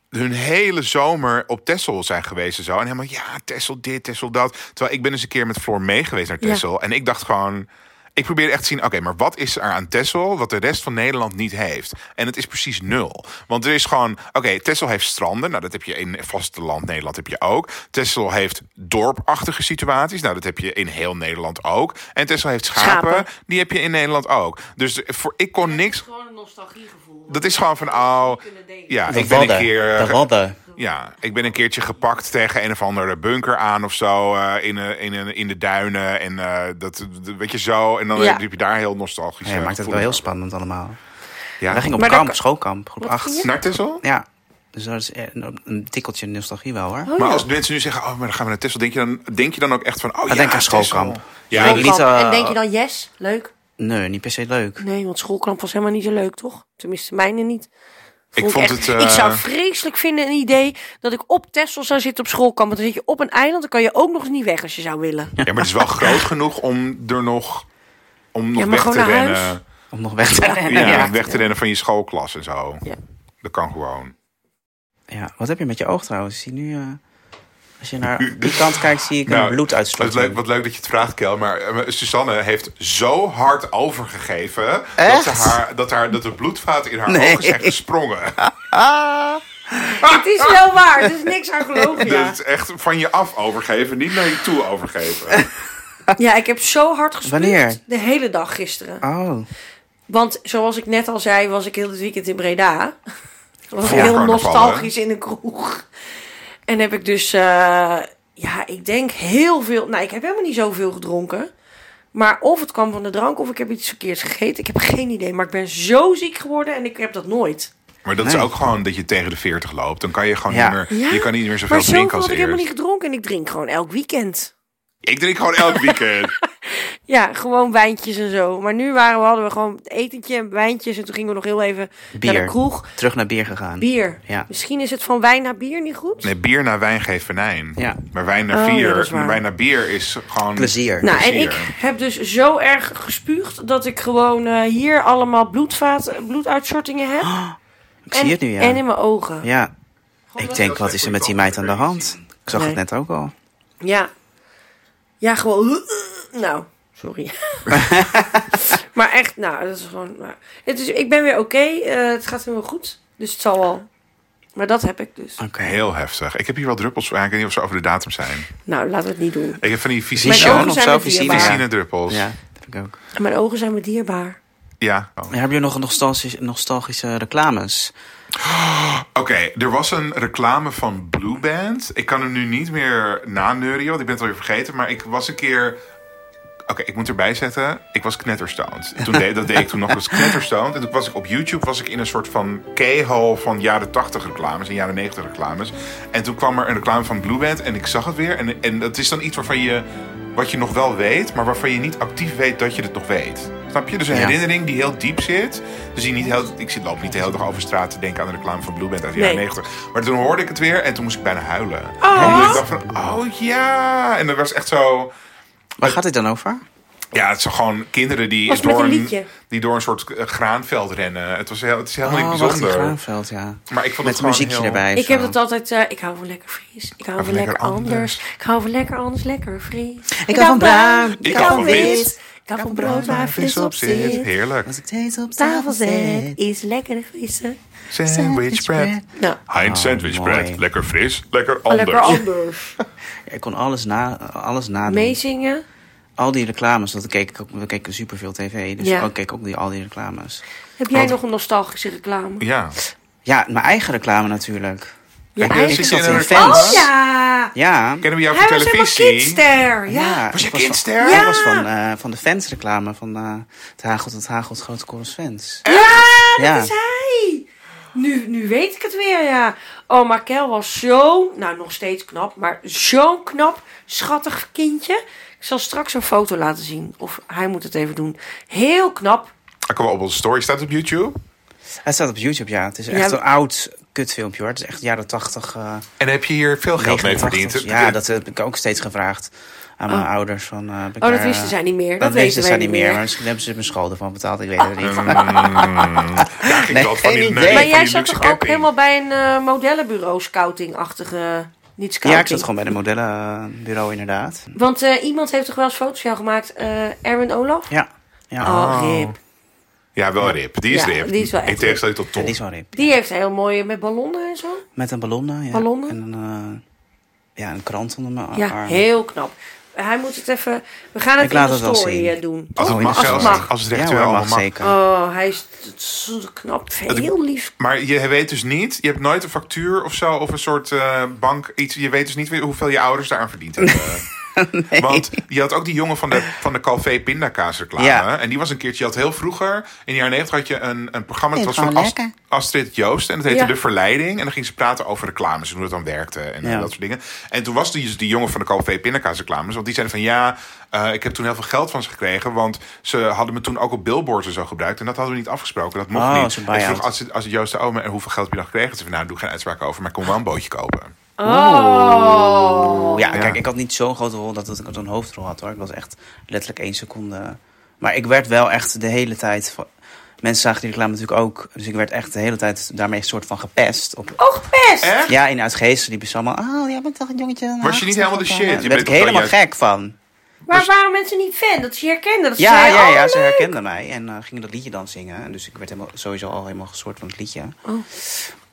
B: hun hele zomer op Tessel zijn geweest en zo. En helemaal, ja, Tessel dit, Tessel dat. Terwijl ik ben eens een keer met Floor mee geweest naar
A: Ja.
B: Tessel. En ik dacht gewoon... Ik probeer echt te zien, oké, maar wat is er aan Texel wat de rest van Nederland niet heeft? En het is precies nul. Want er is gewoon, oké, Texel heeft stranden. Nou, dat heb je in vasteland Nederland heb je ook. Texel heeft dorpachtige situaties. Nou, dat heb je in heel Nederland ook. En Texel heeft schapen.
A: Schapen.
B: Die heb je in Nederland ook. Dus voor, ik kon niks...
A: Gewoon een nostalgiegevoel.
B: Dat is gewoon van, oh,
A: kunnen delen.
B: ja,
C: De
B: ik ben
C: Wadden.
B: een keer...
C: De
B: eh,
C: Wadden.
B: Ja, ik ben een keertje gepakt tegen een of andere bunker aan of zo. eh, in, eh, in, een- in de duinen. En eh, dat, dat- weet je zo. En dan
A: Ja.
B: liep je daar heel nostalgisch. eh,
C: Ja, je maakt het
B: gevoel
C: wel heel
B: over.
C: spannend allemaal.
B: Ja.
C: Wij gingen op
A: Maar
C: kamp,
A: dat-
C: schoolkamp, groep
A: Wat
C: 8.
A: ging je?
B: Naar Texel?
C: Ja, dus dat is eh, een, een tikkeltje nostalgie wel hoor.
B: maar als mensen nu zeggen, oh, maar dan gaan we naar Texel. Denk je dan, denk je dan ook echt van, oh ja,
C: denk aan
B: Texel.
C: schoolkamp.
B: Ja,
C: Denk ik niet, eh,
A: en denk je dan yes, leuk?
C: Nee, niet per se leuk.
A: Nee, want schoolkamp was helemaal niet zo leuk, toch? Tenminste, mijne niet.
B: Ik vond
A: echt-
B: het, eh,
A: ik zou vreselijk vinden een idee dat ik op Texel zou zitten op schoolkamp. Want dan zit je op een eiland, dan kan je ook nog eens niet weg als je zou willen.
B: ja, maar het is wel groot genoeg om er nog, om nog
A: maar
B: weg
A: gewoon
B: te
A: naar
B: rennen.
A: huis.
C: Om nog weg te
B: Ja,
C: rennen. Ja.
B: weg te rennen van je schoolklas en zo.
A: Ja.
B: Dat kan gewoon.
C: Ja, Wat heb je met je oog trouwens? Zie nu, eh, als je naar die kant kijkt, zie ik een bloed
B: Wat leuk, wat leuk dat je Nou, het vraagt, Kel. Maar eh, Suzanne heeft zo hard overgegeven... Dat,
C: Echt?
B: ze haar, dat, haar, dat de bloedvaten in haar
C: Nee.
B: ogen zijn gesprongen.
A: Het is wel waar, het is niks aan gelogen, ja.
B: Dat is Dus echt van je af overgeven, niet naar je toe overgeven.
A: Ja, ik heb zo hard gespuugd.
C: Wanneer?
A: De hele dag gisteren.
C: Oh,
A: Want zoals ik net al zei, was ik heel het weekend in Breda. was ik
B: Voor
A: heel
B: carnaval,
A: nostalgisch in een kroeg. En heb ik dus, eh, ja, ik denk heel veel. Nou, ik heb helemaal niet zoveel gedronken. Maar of het kwam van de drank of ik heb iets verkeerds gegeten, ik heb geen idee. Maar ik ben zo ziek geworden en ik heb dat nooit.
B: Maar dat is
C: Nee.
B: ook gewoon dat je tegen de 40 loopt. Dan kan je gewoon
C: Ja.
B: niet meer,
A: Ja?
B: je kan niet meer zoveel
A: Maar zoveel
B: drinken als
A: had ik helemaal
B: eerst.
A: niet gedronken en ik drink gewoon elk weekend.
B: Ik drink gewoon elk weekend.
A: Ja, gewoon wijntjes en zo. Maar nu waren we, hadden we gewoon etentje en wijntjes en toen gingen we nog heel even naar
C: Bier.
A: de kroeg.
C: terug naar bier gegaan.
A: Bier.
C: Ja.
A: Misschien is het van wijn naar bier niet goed.
B: Nee, bier naar wijn geeft venijn.
C: Ja.
B: Maar wijn naar,
A: Oh, ja,
B: bier,
A: dat is waar.
B: wijn naar bier is gewoon...
C: Plezier.
A: Nou, en
B: Plezier.
A: ik heb dus zo erg gespuugd dat ik gewoon eh, hier allemaal bloedvaat, bloeduitsortingen heb.
C: Oh, ik
A: en,
C: zie het nu, ja.
A: En in mijn ogen. Ja.
C: Ja, ik denk, wat is er met die meid aan de hand? Ik zag
A: Nee.
C: het net ook al.
A: Ja, gewoon... Nou, sorry. maar echt, nou, dat is gewoon... maar- het is, ik ben weer oké, eh, het gaat helemaal goed. Dus het zal wel. Maar dat heb ik dus.
C: Oké.
B: Heel heftig. Ik heb hier wel druppels, maar ik weet niet of ze over de datum zijn.
A: Nou, laten we het niet doen.
B: Ik heb van die
A: Mijn
C: Vision
A: ogen
B: Vicine
C: of
A: zijn
C: zo,
A: me
C: Vicine.
A: dierbaar.
B: Vicine druppels.
C: Ja,
B: Ja.
C: dat heb ik ook.
A: Mijn ogen zijn me dierbaar.
B: Oh.
C: Ja, heb je nog nostalgische, nostalgische reclames?
B: Oké, er was een reclame van Blue Band. Ik kan hem nu niet meer naneuren, want ik ben het alweer vergeten. Maar ik was een keer... Oké, ik moet erbij zetten. Ik was knetterstoond. Toen deed, dat deed ik toen nog, ik was knetterstoond. En toen was ik op YouTube was ik in een soort van K-hole van jaren 80 reclames en jaren 90 reclames. En toen kwam er een reclame van Blue Band en ik zag het weer. En, en dat is dan iets waarvan je, wat je nog wel weet, maar waarvan je niet actief weet dat je het nog weet. Snap je? Dus een
C: Ja.
B: herinnering die heel diep zit. Dus die niet heel, ik zit- loop niet de hele dag over straat te denken aan de reclame van Blue Band uit de jaren
A: Nee.
B: 90. Maar toen hoorde ik het weer en toen moest ik bijna huilen.
A: Oh.
B: Omdat ik dacht van, oh ja. En dat was echt zo...
C: Waar gaat dit dan over?
B: Ja, het zijn gewoon kinderen die,
A: Was het
B: door
A: met een
B: een,
A: liedje?
B: die door een soort eh, graanveld rennen. Het, was heel, het is helemaal
C: Oh,
B: niet
C: wacht, in
B: bijzonder.
C: Graanveld, ja.
B: Maar ik vond
C: Met
B: het
C: een
B: gewoon
C: muziekje
B: heel-
C: erbij.
A: Ik
C: zo.
A: heb dat altijd... eh, ik hou van lekker fris. Ik hou van lekker anders. Ik hou van lekker anders, lekker fris.
C: Ik hou van bruin.
B: Ik hou van wit.
A: Ik hou van brood waar fris op zit.
B: Heerlijk.
C: Als ik deze op
A: Tafel
C: tafel
A: zet
C: zet.
A: is lekkere frisse.
B: Sandwich bread.
A: Nou,
B: Heinz
C: Oh,
B: sandwich
C: mooi.
B: bread. Lekker fris, lekker anders.
A: Oh, lekker anders.
C: Ik kon alles, na, alles nadoen.
A: Meezingen.
C: Al die reclames, want we keken, ook- we keken superveel tv. Dus
A: Ja.
C: ik keek ook die, al die reclames.
A: Heb jij nog een nostalgische reclame?
B: Ja.
C: Ja, mijn eigen reclame natuurlijk.
A: Ja,
B: Heb je
A: eigenlijk-
B: zin
C: zat
B: in
C: in
B: een
C: Fans.
B: reclame?
A: Oh ja!
C: Ja.
B: Kennen we jou
A: Hij
B: van
A: was helemaal
B: televisie?
A: kidster. Ja.
C: Ja,
B: Was je
C: ik van-
B: kindster?
A: Ja.
C: Ik was van, eh, van de fans reclame van eh, het hagelt, het hagelt, grote korrels fans.
A: Ja, dat
C: Ja.
A: is hij. Nu, nu weet ik het weer, ja. Oh, maar Kel was zo, nou nog steeds knap, maar zo'n knap, schattig kindje. Ik zal straks een foto laten zien, of hij moet het even doen. Heel knap.
B: Ik Ah, kom op onze story. Staat het op YouTube.
C: Het staat op YouTube, ja. Het is echt
A: Ja.
C: een oud kutfilmpje hoor. Het is echt jaren 80, eh
B: En heb je hier veel geld mee
C: 89.
B: verdiend?
C: Ja, dat heb ik ook steeds gevraagd aan mijn ouders. Van, eh, heb ik
A: Oh, dat
C: daar,
A: wisten
C: eh,
A: zij niet meer.
C: Dat,
A: Dat weten
C: wisten zij
A: wij
C: niet
A: niet
C: meer.
A: meer. Oh,
C: Maar misschien hebben ze mijn school ervan betaald. Ik weet het niet.
B: Mm, Ja, ik
C: Nee,
B: dacht van die-
C: geen
B: nee,
C: idee.
B: van
A: Maar
B: die
A: jij
B: luxe
A: zat toch ook
B: camping.
A: helemaal bij een eh, modellenbureau scouting-achtige, niet scouting.
C: Ja, ik zat gewoon bij de modellenbureau inderdaad.
A: Want eh, iemand heeft toch wel eens foto's van jou gemaakt, eh Erwin Olaf?
C: Ja, ja.
A: Oh, rip.
B: Ja, wel rip. Die is
A: Ja,
B: rip.
A: die is wel
B: In
A: echt
B: tegenstelling tot
C: Ja,
B: Tom.
C: die is wel rip.
A: Die heeft heel mooie met ballonnen en zo.
C: Met een ballon. eh, Ja.
A: Ballonnen?
C: En een, eh, ja, een krant onder mijn
A: Ja,
C: arm.
A: heel knap. Hij moet het even... We gaan het
C: Ik
A: in
C: laat
A: de
C: het wel
A: story
C: zien.
A: eh, doen.
B: Als het
C: Oh,
B: mag,
A: als het
B: zelfs.
A: mag.
B: Als het
C: Ja,
B: eventueel
C: hoor,
B: allemaal
C: mag
B: mag.
C: zeker.
A: Oh, hij is zo knap. Heel lief.
B: Maar je weet dus niet, je hebt nooit een factuur of zo, of een soort eh, bank, iets. Je weet dus niet hoeveel je ouders daaraan verdiend hebben. Want je had ook die jongen van de, van de Calvé Pindakaas reclame.
C: Ja.
B: En die was een keertje, je had heel vroeger, in de jaren negentig had je een, een programma. Het
C: Vind
B: was
C: ik
B: van
C: gewoon
B: Ast-
C: lekker.
B: Astrid Joost en het heette
A: Ja.
B: De Verleiding. En dan ging ze praten over reclames en hoe dat dan werkte en eh,
C: Ja.
B: dat soort dingen. En toen was die, die jongen van de Calvé Pindakaas reclames. Want die zeiden van ja, eh, ik heb toen heel veel geld van ze gekregen. Want ze hadden me toen ook op billboards en zo gebruikt. En dat hadden we niet afgesproken. Dat mocht
C: Oh,
B: niet. En toen
C: zo'n
B: vroeg
C: buy-out.
B: Ah, als het, als het Joost de Ome en hoeveel geld heb je dan gekregen? Ze zei, nou, doe geen uitspraak over, maar ik kon wel een bootje kopen.
A: Oh.
C: Ja,
B: Ja.
C: kijk, ik had niet zo'n grote rol dat ik een hoofdrol had hoor. Ik was echt letterlijk één seconde. Maar ik werd wel echt de hele tijd. van- Mensen zagen die reclame natuurlijk ook. Dus ik werd echt de hele tijd daarmee een soort van gepest. Op...
A: Oh, gepest.
B: Echt?
C: Ja, in Uitgeesten liepen ze allemaal. Ah, jij bent toch een jongetje. aan de
B: Was je niet
C: haak,
B: helemaal de
C: toch?
B: shit? Je
C: Daar
B: bent
C: werd ik
B: toch wel
C: helemaal
B: juist-
C: gek van.
A: Maar waren mensen niet fan? Dat ze je herkenden? Dat ze
C: Ja,
A: zeiden,
C: ja,
A: oh,
C: ja, ze
A: leuk.
C: herkenden mij en eh, gingen dat liedje dan zingen. En Dus ik werd helemaal, sowieso al helemaal gesoord van het liedje.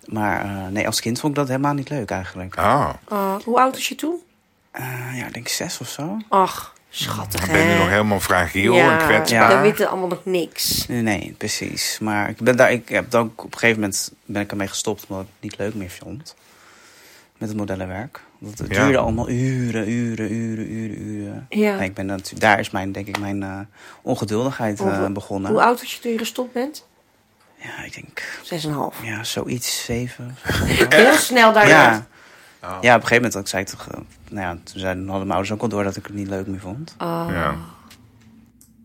C: Maar eh, nee, als kind vond ik dat helemaal niet leuk eigenlijk.
B: Oh,
A: Oh, hoe oud was je toen?
C: Eh, ja, ik denk zes of zo.
A: Ach, schattig,
B: ik ben nu
A: hè?
B: nog helemaal fragiel
A: ja,
B: en kwetsbaar.
A: Dan weten allemaal nog niks.
C: Nee, Nee, precies. Maar ik ben daar, ik heb het ook op een gegeven moment ben ik ermee gestopt omdat ik het niet leuk meer vond. Met het modellenwerk. Want het
B: Ja.
C: duurde allemaal uren, uren, uren, uren, uren.
A: Ja.
C: En ik ben natuurlijk, daar is mijn, denk ik, mijn eh, ongeduldigheid eh,
A: Hoe-
C: begonnen.
A: Hoe oud was je toen je gestopt bent?
C: Ja, ik denk,
A: Zes en een half.
C: ja, zoiets, zeven.
A: Heel snel daarna.
C: Ja.
B: Oh.
C: Ja, op een gegeven moment had ik zei ik toch, eh, nou ja, toen zeiden, hadden mijn ouders ook al door dat ik het niet leuk meer vond.
B: Ja.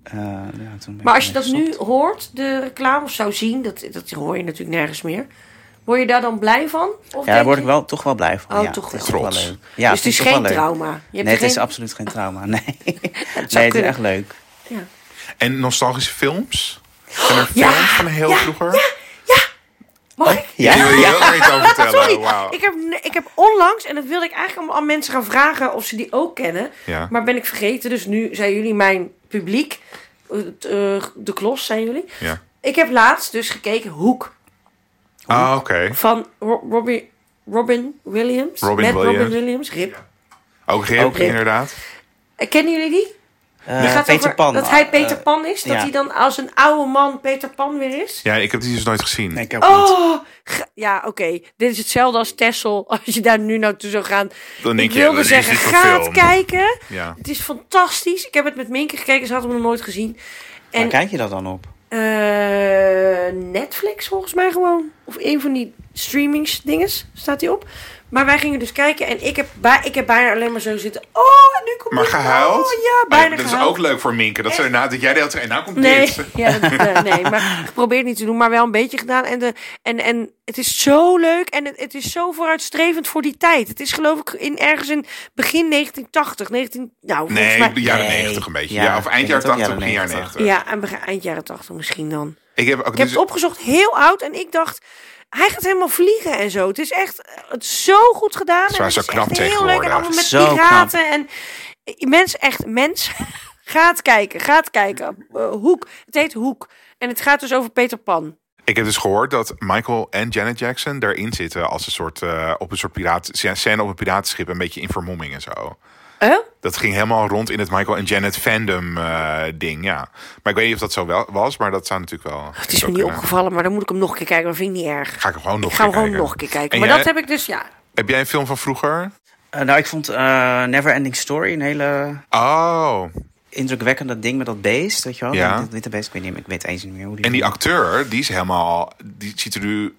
C: Eh, ja, toen ben ik
A: Oh. Maar als je
C: ermee
A: dat nu hoort, de reclame, of zou zien, dat, dat hoor je natuurlijk nergens meer. Word je daar dan blij van? Of
C: Ja, daar
A: denk
C: word
A: je-
C: ik wel, toch wel blij van.
A: Oh,
C: ja,
A: toch
C: het is
A: wel.
C: wel
B: Trots.
C: leuk.
A: dus
C: Ja,
A: het
C: vind
A: is
C: ik toch
A: geen
C: wel leuk.
A: trauma. Je hebt
C: nee, het
A: geen-
C: is absoluut geen trauma. Nee, nee het is
A: kunnen.
C: echt leuk.
A: Ja.
B: En nostalgische films? Zijn er
A: Ja,
B: films van heel
A: ja,
B: vroeger?
A: Mag ik?
C: Oh, Ja,
B: Die wil je ook iets over vertellen.
A: Sorry,
B: Wauw.
A: ik, heb, ik heb onlangs, en dat wilde ik eigenlijk allemaal aan mensen gaan vragen of ze die ook kennen.
B: Ja.
A: Maar ben ik vergeten, dus nu zijn jullie mijn publiek. Eh, t- eh, De klos zijn jullie.
B: Ja.
A: Ik heb laatst dus gekeken Hoek
B: Ah, oké.
A: van Ro- Robbie, Robin Williams.
B: Robin
A: met Robin
B: Williams.
A: Williams, Rip.
B: Ook Rip,
C: Ook Rip.
B: inderdaad.
A: Eh, Kennen jullie die?
C: Eh,
A: Die gaat
C: Peter
A: over
C: Pan.
A: Dat hij Peter
C: Eh,
A: Pan is. Dat
C: ja.
A: hij dan als een oude man Peter Pan weer is.
B: Ja, ik heb die dus nooit gezien.
C: nee,
B: Nee,
C: ik ook niet.
A: Oh, ge- ja, oké. Dit is hetzelfde als Tessel. Als je daar nu naartoe zou gaan.
B: Dan denk
A: ik
B: je,
A: wilde
B: dat is
A: zeggen,
B: niet zo'n
A: ga het
B: film.
A: kijken.
B: Ja.
A: Het is fantastisch. Ik heb het met Minke gekeken. Ze had hem nog nooit gezien.
C: Waar
A: En
C: kijk je dat dan op?
A: eh, Netflix volgens mij gewoon. Of een van die streamingsdinges staat hij op. Maar wij gingen dus kijken. En ik heb, bij, ik heb bijna alleen maar zo zitten. Oh, en nu komt
B: maar
A: dit.
B: gehuild?
A: Oh, ja, bijna
B: Oh, Dat is
A: gehuild.
B: ook leuk voor Minke. Dat, ze erna, dat jij de hele tijd... En nou komt
A: Nee,
B: dit.
A: ja, dat, eh, nee, maar geprobeerd niet te doen, maar wel een beetje gedaan. En, de, en, en het is zo leuk en het, het is zo vooruitstrevend voor die tijd. Het is geloof ik in, ergens in begin 1980, 19, nou
B: Nee,
A: volgens
B: de
A: mij...
B: jaren
C: Nee.
B: negentig een beetje. Ja,
C: Ja,
B: of
C: ik
B: eind
C: denk
B: jaren tachtig,
C: het ook jaren
B: begin jaren
C: 90.
B: negentig.
A: Ja, en begin- eind jaren 80 misschien dan.
B: Ik heb ook...
A: Ik heb
B: dus-
A: het opgezocht, heel oud en ik dacht... Hij gaat helemaal vliegen en zo. Het is echt eh, het is zo goed gedaan.
B: Ze
A: en
B: waren
A: het
B: zo
A: is
B: knap
A: echt heel leuk. En
B: tegenwoordig.
A: allemaal met
C: Zo
A: piraten. En eh, mens, echt mens. gaat kijken, gaat kijken. Eh, Hoek. Het heet Hoek. En het gaat dus over Peter Pan.
B: Ik heb dus gehoord dat Michael en Janet Jackson daarin zitten als een soort, eh, op een soort piraat, scène op een piratenschip, een beetje in vermomming en zo.
A: Huh?
B: Dat ging helemaal rond in het Michael en Janet fandom eh, ding, ja. Maar ik weet niet of dat zo wel was, maar dat zou natuurlijk wel. eh,
A: Het is me niet opgevallen, maar dan moet ik hem nog een keer kijken. Dat vind ik niet erg.
B: Ga ik hem gewoon nog
A: Ik ga hem
B: een keer
A: gewoon
B: kijken.
A: nog een keer kijken.
B: En
A: Maar
B: jij-
A: dat heb ik dus, ja.
B: Heb jij een film van vroeger?
C: Eh, nou, ik vond eh Never Ending Story een hele
B: Oh, indrukwekkend.
C: indrukwekkende ding met dat beest, weet je wel?
B: Ja.
C: Dat witte beest, ik weet, niet, meer- ik weet eens niet meer hoe die...
B: En die acteur, die is helemaal, die ziet er nu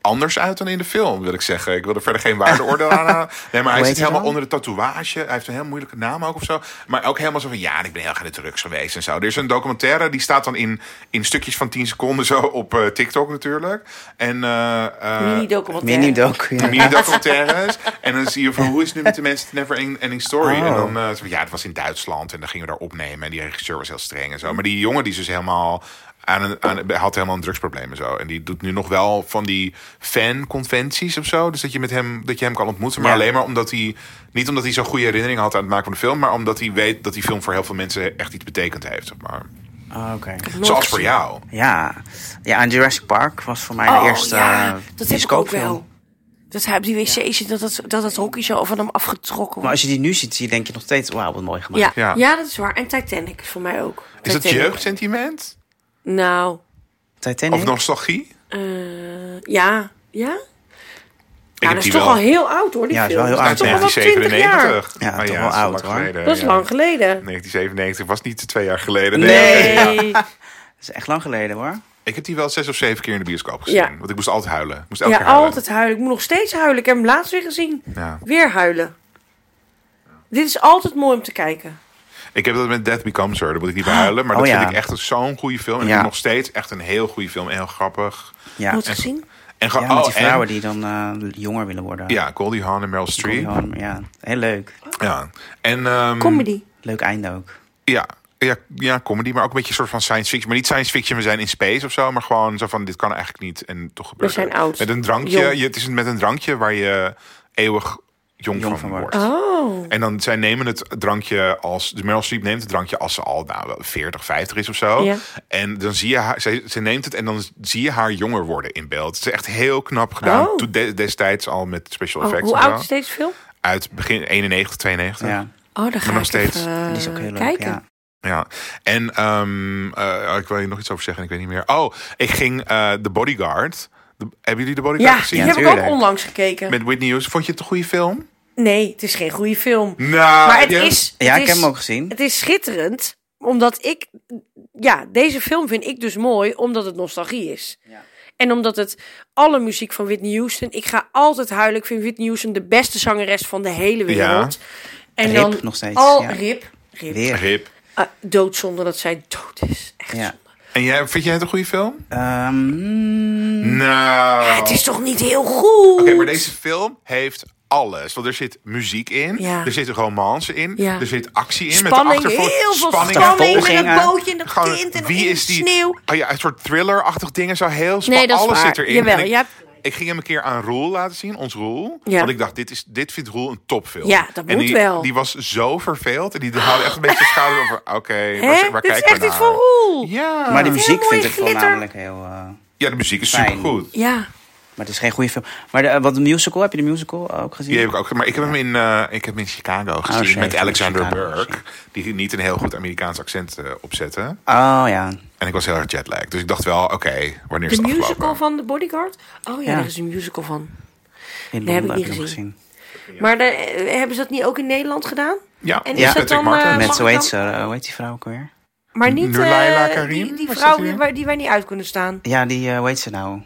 B: anders uit dan in de film, wil ik zeggen. Ik wil er verder geen waardeoordeel aan halen. Nee, maar hij
C: heet
B: zit
C: hij
B: helemaal
C: dan?
B: onder de tatoeage. Hij heeft een heel moeilijke naam ook of zo. Maar ook helemaal zo van, ja, en ik ben heel erg in de drugs geweest en zo. Er is een documentaire, die staat dan in, in stukjes van 10 seconden zo op eh, TikTok natuurlijk. En eh, eh,
A: Mini-documentaire.
C: Mini doc, ja.
B: mini-documentaires. en dan zie je van hoe is het nu met de mensen het Never End- Ending Story.
C: Oh.
B: En dan, eh, zo van, ja, het was in Duitsland en dan gingen we daar opnemen. En die regisseur was heel streng en zo. Maar die jongen die is dus helemaal aan een, aan, een- had helemaal een drugsprobleem en zo. En die doet nu nog wel van die fanconventies of zo. Dus dat je, met hem, dat je hem kan ontmoeten. Maar
C: Ja.
B: alleen maar omdat hij... Niet omdat hij zo'n goede herinnering had aan het maken van de film... maar omdat hij weet dat die film voor heel veel mensen echt iets betekend heeft. Zeg maar.
C: Ah, oké.
B: Zoals voor jou.
C: Ja. ja, en Jurassic Park was voor mij
A: Oh,
C: de eerste
A: ja,
C: eh,
A: dat heb ik ook
C: bioscoopfilm.
A: wel. Dat hij op die wc zit, dat het, dat het hockey zo van hem afgetrokken
C: Maar
A: wordt.
C: als je die nu ziet, zie je denk je nog steeds, wauw, wat mooi gemaakt.
A: Ja.
B: Ja.
A: Ja. dat is waar. En Titanic is voor mij ook.
B: Is dat
A: Titanic.
B: jeugdsentiment?
A: Nou,
C: Titanic.
B: Of nostalgie?
A: eh, ja. Ja?
B: Ik
A: ja,
B: heb
A: dat
B: die
A: is toch
B: wel.
A: al heel oud hoor, die
C: Ja, het is
A: film.
C: wel heel
B: Uit
A: Dat is toch al
C: oud,
A: wel 20 jaar.
B: 1997.
C: Ja,
B: Maar
C: toch wel
B: dat is
C: oud,
B: lang
C: hoor.
B: geleden,
A: Dat is
B: ja.
A: lang geleden.
B: 1997 was niet twee jaar geleden.
A: Nee.
C: Dat is echt lang geleden hoor.
B: Ik heb die wel zes of zeven keer in de bioscoop gezien.
A: Ja.
B: Want ik moest altijd huilen. Ik moest elke
A: Ja,
B: keer huilen.
A: altijd huilen. Ik moet nog steeds huilen. Ik heb hem laatst weer gezien.
B: Ja.
A: Weer huilen. Dit is altijd mooi om te kijken.
B: Ik heb dat met Death Becomes Her. Daar moet ik niet bij huilen. Maar
C: Oh,
B: dat
C: ja.
B: vind ik echt een- zo'n goede film. En ik
C: Ja.
B: vind het nog steeds echt een heel goede film. En heel grappig.
C: Ja,
A: Moet je het gezien?
B: En
C: ja
B: gewoon
C: met
B: oh,
C: die vrouwen
B: en-
C: die dan eh, jonger willen worden.
B: Ja, Goldie Hawn en Meryl
C: Goldie
B: Streep.
C: Hawn, Ja, heel leuk.
B: Ja. En, ehm,
A: Comedy.
C: Leuk einde ook.
B: Ja. Ja, ja, comedy, maar ook een beetje een soort van science fiction. Maar niet science fiction, we zijn in space of zo. Maar gewoon zo van, dit kan eigenlijk niet. En toch gebeurt
A: zijn
B: het.
A: oud.
B: Met een drankje.
A: Jong.
B: Je, het is met een drankje waar je eeuwig jong, van
C: Jong van
B: wordt.
C: wordt.
A: Oh.
B: En dan, zij nemen het drankje als... De Meryl Streep neemt het drankje als ze al nou, wel 40, 50 is of zo.
A: Ja.
B: En dan zie je haar... Zij, ze neemt het en dan zie je haar jonger worden in beeld. Het is echt heel knap gedaan.
A: Oh.
B: Toen de- destijds al met special
A: Oh,
B: effects.
A: hoe
B: en zo.
A: oud is deze film?
B: Uit begin 91, 92.
C: Ja,
A: Oh, daar ga
B: nog
A: ik
B: steeds.
A: even,
C: die is ook
A: eh,
C: heel leuk.
A: kijken.
C: Ja.
B: Ja. En ehm, eh, ik wil hier nog iets over zeggen. Ik weet niet meer. Oh, ik ging eh The Bodyguard. De- hebben jullie The Bodyguard
A: Ja, die
B: gezien?
C: Ja,
A: heb ik ook
C: tuurlijk.
A: onlangs gekeken.
B: Met Whitney Houston. Vond je het een goede film?
A: Nee, het is geen goede film.
B: Nou,
A: maar het
B: ja.
A: is...
C: Ja,
A: het
C: ik
A: is-
C: heb hem ook gezien.
A: Het is schitterend, omdat ik... Ja, deze film vind ik dus mooi, omdat het nostalgie is. En omdat het alle muziek van Whitney Houston... Ik ga altijd huilen. Ik vind Whitney Houston de beste zangeres van de hele wereld. En
C: Rip
A: dan
C: nog steeds,
A: Al
C: ja.
A: rip. rip.
C: Weer.
B: Rip.
A: Ah, dood zonder dat zij dood is. Echt
C: Ja.
A: zonde.
B: En jij, vind jij het een goede film?
C: Ehm,
B: Nou.
A: Het is toch niet heel goed?
B: Oké, maar deze film heeft alles. Want er zit muziek in,
A: Ja.
B: er zit romance in,
A: Ja.
B: er zit actie in.
A: Spanning,
B: met de achtergrond,
A: heel veel spanning,
C: spanning,
A: met
C: achtervolgingen.
A: het bootje en dat
B: Gewoon,
A: kind en
B: wie
A: in
B: is die?
A: de sneeuw.
B: Oh ja, een soort thriller-achtig dingen. Zo heel spa-
A: Nee, dat is
B: alles
A: waar.
B: zit erin.
A: Jawel,
B: En ik,
A: je hebt-
B: ik ging hem een keer aan Roel laten zien, ons Roel.
A: Ja.
B: Want ik dacht, dit, is, dit vindt Roel een topfilm.
A: Ja, dat
B: en
A: moet
B: die,
A: wel.
B: die was zo verveeld. En die haalde echt een beetje de schouder over. Oké, waar,
A: Hè?
B: waar
A: Dit is
B: kijken
A: echt
B: we
A: iets
B: naar?
A: voor Roel.
B: Ja.
C: Maar de
A: Heel
C: muziek
A: mooi
C: vind ik wel
A: glitter.
C: namelijk heel... eh,
B: ja, de muziek is
C: Fijn.
B: supergoed.
A: Ja.
C: maar het is geen goede film. Maar de, eh, wat de musical, heb je de musical ook gezien?
B: Die heb ik ook, maar ik heb hem in, eh, ik heb hem in Chicago gezien
C: Oh, shit,
B: met
C: in
B: Alexander
C: Chicago
B: Burke. Die niet een heel goed Amerikaans accent eh, opzette.
C: Oh ja.
B: En ik was heel erg jetlag. Dus ik dacht wel, oké, wanneer is
A: De
B: het
A: musical
B: afgelopen?
A: van The Bodyguard? Oh ja,
C: Ja.
A: daar is een musical van.
C: In
A: Nee, heb ik
C: Londen
A: niet
C: heb ik hem
A: gezien.
C: gezien.
A: Maar daar, eh, hebben ze dat niet ook in Nederland gedaan? En
B: Ja, met
A: is dat
B: Patrick
A: dan...
B: Martin.
A: eh,
C: Met,
A: mag
C: zo
A: ik
C: heet
A: dan-
C: ze, eh, hoe heet die vrouw ook weer?
A: Maar niet eh,
B: Nurlaila
A: die,
B: Karim,
A: die
B: was dat
A: vrouw
B: die?
A: die, waar, die wij niet uit kunnen staan.
C: Ja, die, eh, hoe heet ze nou?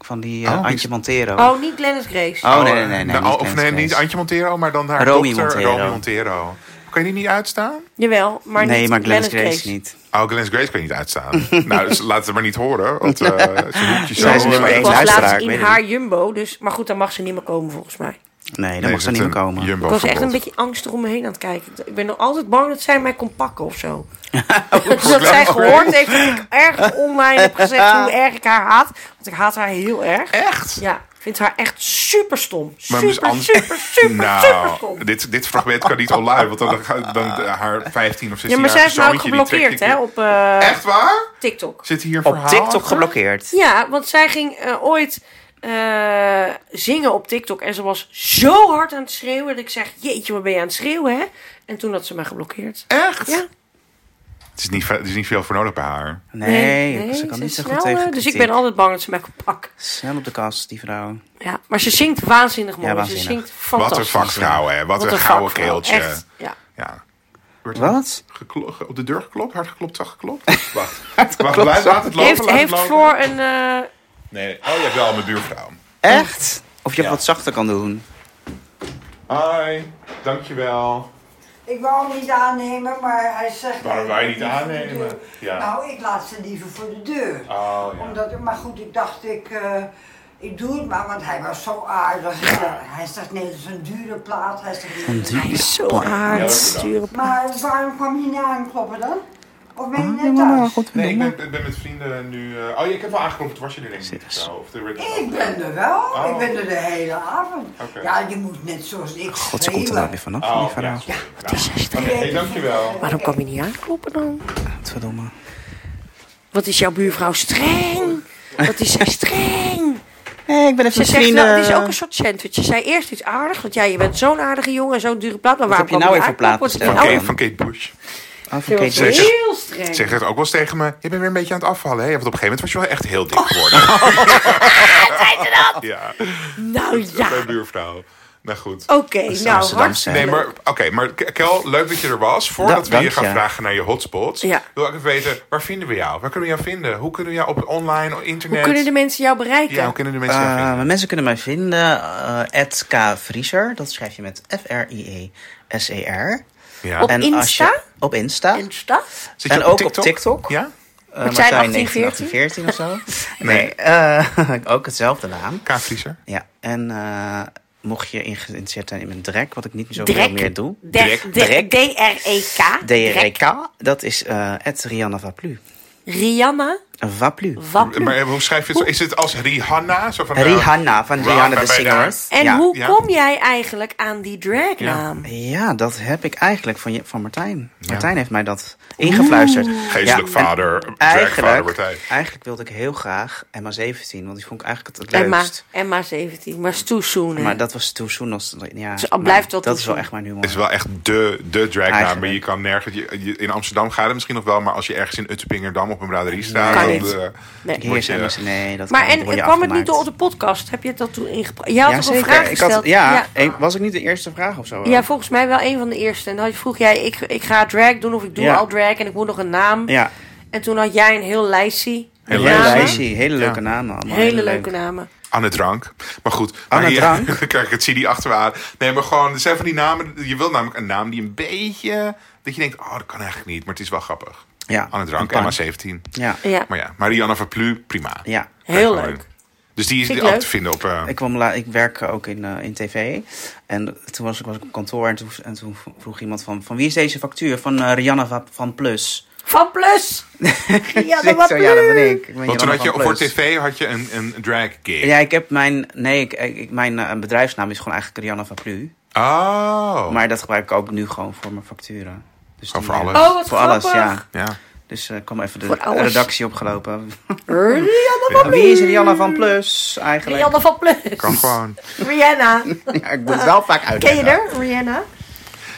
C: Van die eh,
B: Oh, die is-
C: Antje Montero.
A: Oh, niet Glennis Grace.
C: Oh, nee, nee, nee. nee,
B: Nou,
C: niet
B: of
C: Lance
B: nee,
C: Grace.
B: niet Antje Montero, maar dan haar
C: Romy
B: dochter,
C: Montero.
B: Romy Montero. Kan je die niet uitstaan?
A: Jawel, maar
C: Nee,
A: niet
C: maar Glennis Grace,
A: Grace.
C: niet.
B: Oh, Glennis Grace kan je niet uitstaan. nou, dus laten we maar niet horen. Want eh ze hoekje zo...
C: Zij is nummer
B: eh,
A: Ik
C: één
A: was
C: luisteraar,
A: laatst
C: ik
A: in
C: weet
A: haar jumbo, dus... Maar goed, dan mag ze niet meer komen volgens mij.
B: Oh,
C: Nee, daar
B: nee, eh,
C: mag
B: is
C: ze niet
B: het
C: meer
B: een
C: komen.
B: Jumbo
A: Ik was echt een
B: verbod.
A: beetje angstig om me heen aan het kijken. Ik ben nog altijd bang dat zij mij kon pakken of zo. dat zij gehoord heeft dat ik erg online heb gezegd hoe erg ik haar haat. Want ik haat haar heel erg.
B: Echt?
A: Ja, ik vind haar echt super stom.
B: Maar
A: Super,
B: Miss
A: super,
B: Ans-
A: super, super, stom.
B: nou, dit, dit fragment kan niet online, want dan, dan, dan eh, haar 15 of 16
A: Ja, maar zij heeft me ook geblokkeerd hè, op eh,
B: Echt waar?
A: TikTok.
B: Zit hier een
C: Op
B: verhaal
A: Oh,
C: TikTok
B: achter?
C: geblokkeerd.
A: Ja, want zij ging eh, ooit eh, zingen op TikTok. En ze was zo hard aan het schreeuwen dat ik zeg, jeetje, wat ben je aan het schreeuwen, hè? En toen had ze mij geblokkeerd.
B: Echt?
A: Ja.
B: Het is, niet, ve- er is niet veel voor nodig bij haar.
C: Nee, ze kan
A: ze
C: niet
A: is
C: zo goed
A: snel,
C: tegen
A: eh, Dus ik
C: kritiek.
A: ben altijd bang dat ze mij kan pakken.
C: Snel op de kast, die vrouw.
A: Ja, maar ze zingt waanzinnig mooi.
C: Ja,
A: Ze
C: waanzinnig.
A: zingt
B: Wat een
A: fantastisch.
B: vakvrouw, hè? Wat, een gouden
A: vakvrouw.
B: keeltje.
A: Echt, ja.
B: Ja. Wordt er
C: Wat?
B: geklo- ge- op de deur geklopt, hard geklopt, zacht geklopt. Wacht, wacht, laat, laat het lopen.
A: heeft
B: laat het
A: heeft
B: lopen.
A: voor een... eh,
B: Nee, oh, je hebt wel mijn buurvrouw.
C: Echt? Of je
B: Ja.
C: wat zachter kan doen.
B: Hoi, dankjewel.
F: Ik wou hem niet aannemen, maar hij zegt...
B: Waarom wou je niet
F: Hij laat ze
B: aannemen?
F: voor de deur.
B: Ja.
F: Nou, ik laat ze liever voor de deur.
B: Oh, ja.
F: Omdat, maar goed, ik dacht, ik, eh, ik doe het maar, want hij was zo aardig. Hij zegt, nee, dat is een dure plaat. Hij zegt, een
A: hij is zo aardig. Sturen.
F: Maar waarom kwam je niet aankloppen dan? Of ben je
C: Oh,
F: net
C: nou,
F: thuis?
B: Nee, ik ben, ik ben met vrienden nu... eh, oh, ja, ik heb wel aangeklopt, het was je er denk ik niet. Zo, of er werd-
F: Ik ben er wel.
B: Oh.
F: Ik ben er de hele avond.
B: Oké.
F: Ja, je moet net zoals ik
C: God, ze komt er wel weer vanaf, van die
B: Oh,
C: vrouw.
B: ja, sorry. Nou, Oké, dankjewel.
A: Waarom kan je niet aankloppen dan?
C: Godverdomme.
A: Wat is jouw buurvrouw streng? Wat is zij streng?
C: Hey, ik ben even
A: Ze
C: met
A: zegt
C: vrienden.
A: wel, het is ook een soort sandwich. Ze zei eerst iets aardigs, want ja, je bent zo'n aardige jongen en zo'n dure plaat. Maar waarom
C: heb je nou weer voor plaat
A: platen?
C: besteld?
B: Kate-
C: Oh.
B: van Kate Bush.
C: Oh, van Kate
B: Ze
C: Bush.
B: zegt-
A: heel streng.
B: Zegt het ook wel eens tegen me. Je bent weer een beetje aan het afvallen, hè? Want op een gegeven moment was je wel echt heel dik geworden. Ja,
A: nou ja,
B: mijn buurvrouw. Nou goed.
A: oké.
C: is
A: nou,
C: Amsterdamse.
A: hartstikke
B: Nee,
A: leuk.
B: maar oké, maar K- Kel, leuk dat je er was. Voordat we
C: dank
B: je gaan
C: je.
B: vragen naar je hotspots,
A: Ja.
B: wil ik even weten, waar vinden we jou? Waar kunnen we jou vinden? Hoe kunnen we jou op online, op internet?
A: Hoe kunnen de mensen jou bereiken?
B: ja, hoe kunnen de mensen jou
C: Eh,
B: vinden?
C: maar mensen kunnen mij vinden. eh @kvriezer. Dat schrijf je met E F-R-I-E-S-E-R.
B: Ja.
A: op
C: En als je-
A: Insta?
C: op Insta. eh,
A: Insta?
B: Zit je
C: en ook op TikTok?
B: Ja?
C: Eh,
A: Martijn
C: Martijn
A: 1814?
C: 1914 of zo. nee, eh, ook hetzelfde naam.
B: K. Vriezer.
C: Ja, en eh, mocht je in- geïnteresseerd zijn in mijn drek, wat ik niet zo veel
A: Drek.
C: meer doe.
A: Drek.
C: Drek.
A: E D-R-E-K.
C: E DRK, dat is eh Rihanna Vaplu.
A: Rihanna
C: Vaplu.
A: Waplu.
B: Maar eh, hoe schrijf je het? zo? Is het als Rihanna? Zo van, eh,
C: Rihanna van
B: Ra-
C: Rihanna
B: bij
C: de
B: de-
C: Singers.
A: En
C: ja.
A: hoe
B: ja.
A: kom jij eigenlijk aan die dragnaam?
C: Ja, dat heb ik eigenlijk van, je, van Martijn. Martijn heeft mij dat ingefluisterd.
B: Geestelijk
C: Ja, en
B: vader, dragvader
C: Eigenlijk,
B: Martijn.
C: eigenlijk wilde ik heel graag Emma 17, want die vond ik eigenlijk het
A: Emma,
C: leukst.
A: Emma 17, maar is too soon. hè?
C: Maar dat was too soon. Als, ja,
A: Dus al
C: maar
A: blijft wel
C: dat
A: too
C: is wel
A: soon.
C: echt mijn humor.
B: Het is wel echt de, de dragnaam. Maar
C: Eigenlijk.
B: je kan nergens... je- je- in Amsterdam gaat het misschien nog wel, maar als je ergens in Uttenpingerdam op een braderie staat...
A: Kan
B: dan,
A: niet.
B: eh,
A: Nee.
C: Hier
B: word
C: is
B: je-
C: Emma, nee, dat
A: Maar
C: kan-
A: en
C: word je
A: kwam het niet
C: afgemaakt.
A: door onze podcast? Heb je het dat toen ingebracht? Jij had
C: Ja,
A: toch een vraag
C: zeker. Ik
A: gesteld?
C: had, ja,
A: ja.
C: eh, was ik niet de eerste vraag of zo?
A: Ja, volgens mij wel een van de eerste. En dan had je- vroeg jij, ik, ik ga drag doen of ik doe
C: Ja.
A: al drag en ik moet nog een naam.
C: Ja,
A: En toen had jij een heel lijstje.
C: Hele,
A: met namen.
C: lijstje, hele leuke
B: Ja.
C: namen allemaal.
A: Hele
C: leuk.
A: leuke namen.
B: Aan de drank. Maar goed.
C: Aan
B: maar
C: de
B: hier-
C: drank?
B: dan krijg ik het CD achter me aan. Nee, maar gewoon... Er zijn van die namen... Je wilt namelijk een naam die een beetje... Dat je denkt, oh, dat kan eigenlijk niet. Maar het is wel grappig.
C: Ja,
B: Aan de drank,
C: een
B: Emma
C: pan.
B: 17.
C: Ja.
A: Ja,
B: Maar ja, Marianne van Plu, prima.
C: ja.
A: heel
B: Gewoon.
A: leuk.
B: Dus die is
A: Vind ik
B: die ook
A: leuk.
B: te vinden op... eh,
C: Ik, kwam la- ik werk ook in, eh, in tv. En toen was ik, was ik op kantoor en toen, en toen vroeg iemand van... Van wie is deze factuur? Van eh, Rihanna va- van Plus.
A: Van Plus! ja,
C: Dus ik
A: wat
C: zo, ja, dat ben ik. ik ben
B: want toen
C: Rihanna
B: had je
C: van
B: voor
C: Plus.
B: tv had je een, een drag gig.
C: Ja, ik heb mijn... Nee, ik, ik- mijn eh, bedrijfsnaam is gewoon eigenlijk Rihanna van Plu.
B: Oh.
C: Maar dat gebruik ik ook nu gewoon voor mijn facturen. Dus
B: Gewoon
C: die,
B: voor
C: eh,
B: alles.
A: Oh, wat
C: voor
A: grappig.
C: alles, ja.
B: ja.
C: Dus eh, kwam even de
A: Voor alles.
C: redactie opgelopen.
A: Rihanna van
C: Wie is Rihanna van Plus eigenlijk?
A: Rihanna van Plus.
B: Kan gewoon.
A: Rihanna.
C: Ja, ik moet het wel vaak
A: eh, Ken je
C: uitleggen.
A: haar, Rihanna?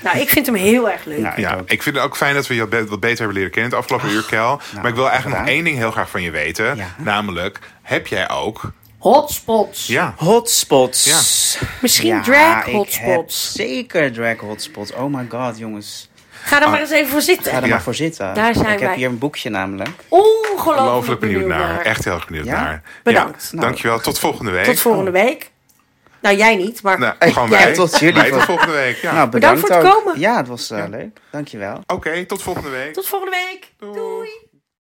A: Nou, ik vind hem heel erg leuk.
C: Nou, ik
B: Ja,
C: ook.
B: ik vind het ook fijn dat we je be- wat beter hebben leren kennen het afgelopen uur, Kel. maar ik wil eigenlijk nog
C: gedaan.
B: één ding heel graag van je weten.
C: nou, Ja.
B: Namelijk, heb jij ook...
A: Hotspots.
B: Ja,
C: Oh, Hotspots.
B: Ah. Ja.
A: Misschien
C: Ja,
A: drag
C: ik
A: hotspots.
C: heb zeker drag hotspots. Oh my god, jongens.
A: Ga
B: Ah.
A: er maar eens even voor zitten.
C: Ga er
B: Ja.
C: maar voor zitten.
A: Daar zijn
C: ik heb
A: wij. Nou,
C: hier een boekje namelijk.
A: Ongelooflijk
B: ongelooflijk benieuwd naar.
A: naar.
B: Echt heel erg benieuwd
C: Ja?
B: naar.
A: Bedankt.
B: Ja, dankjewel. Tot volgende week.
A: Tot volgende week. Nou, jij niet, maar
B: Nou, gewoon
A: jij.
B: wij.
C: tot jullie
B: Wij tot
C: voor-
B: volgende week. Ja.
C: Nou,
A: Bedankt voor het
C: ook.
A: komen.
C: Ja, het was eh, leuk. Dankjewel.
B: Oké, tot volgende week.
A: Tot volgende week. Doei.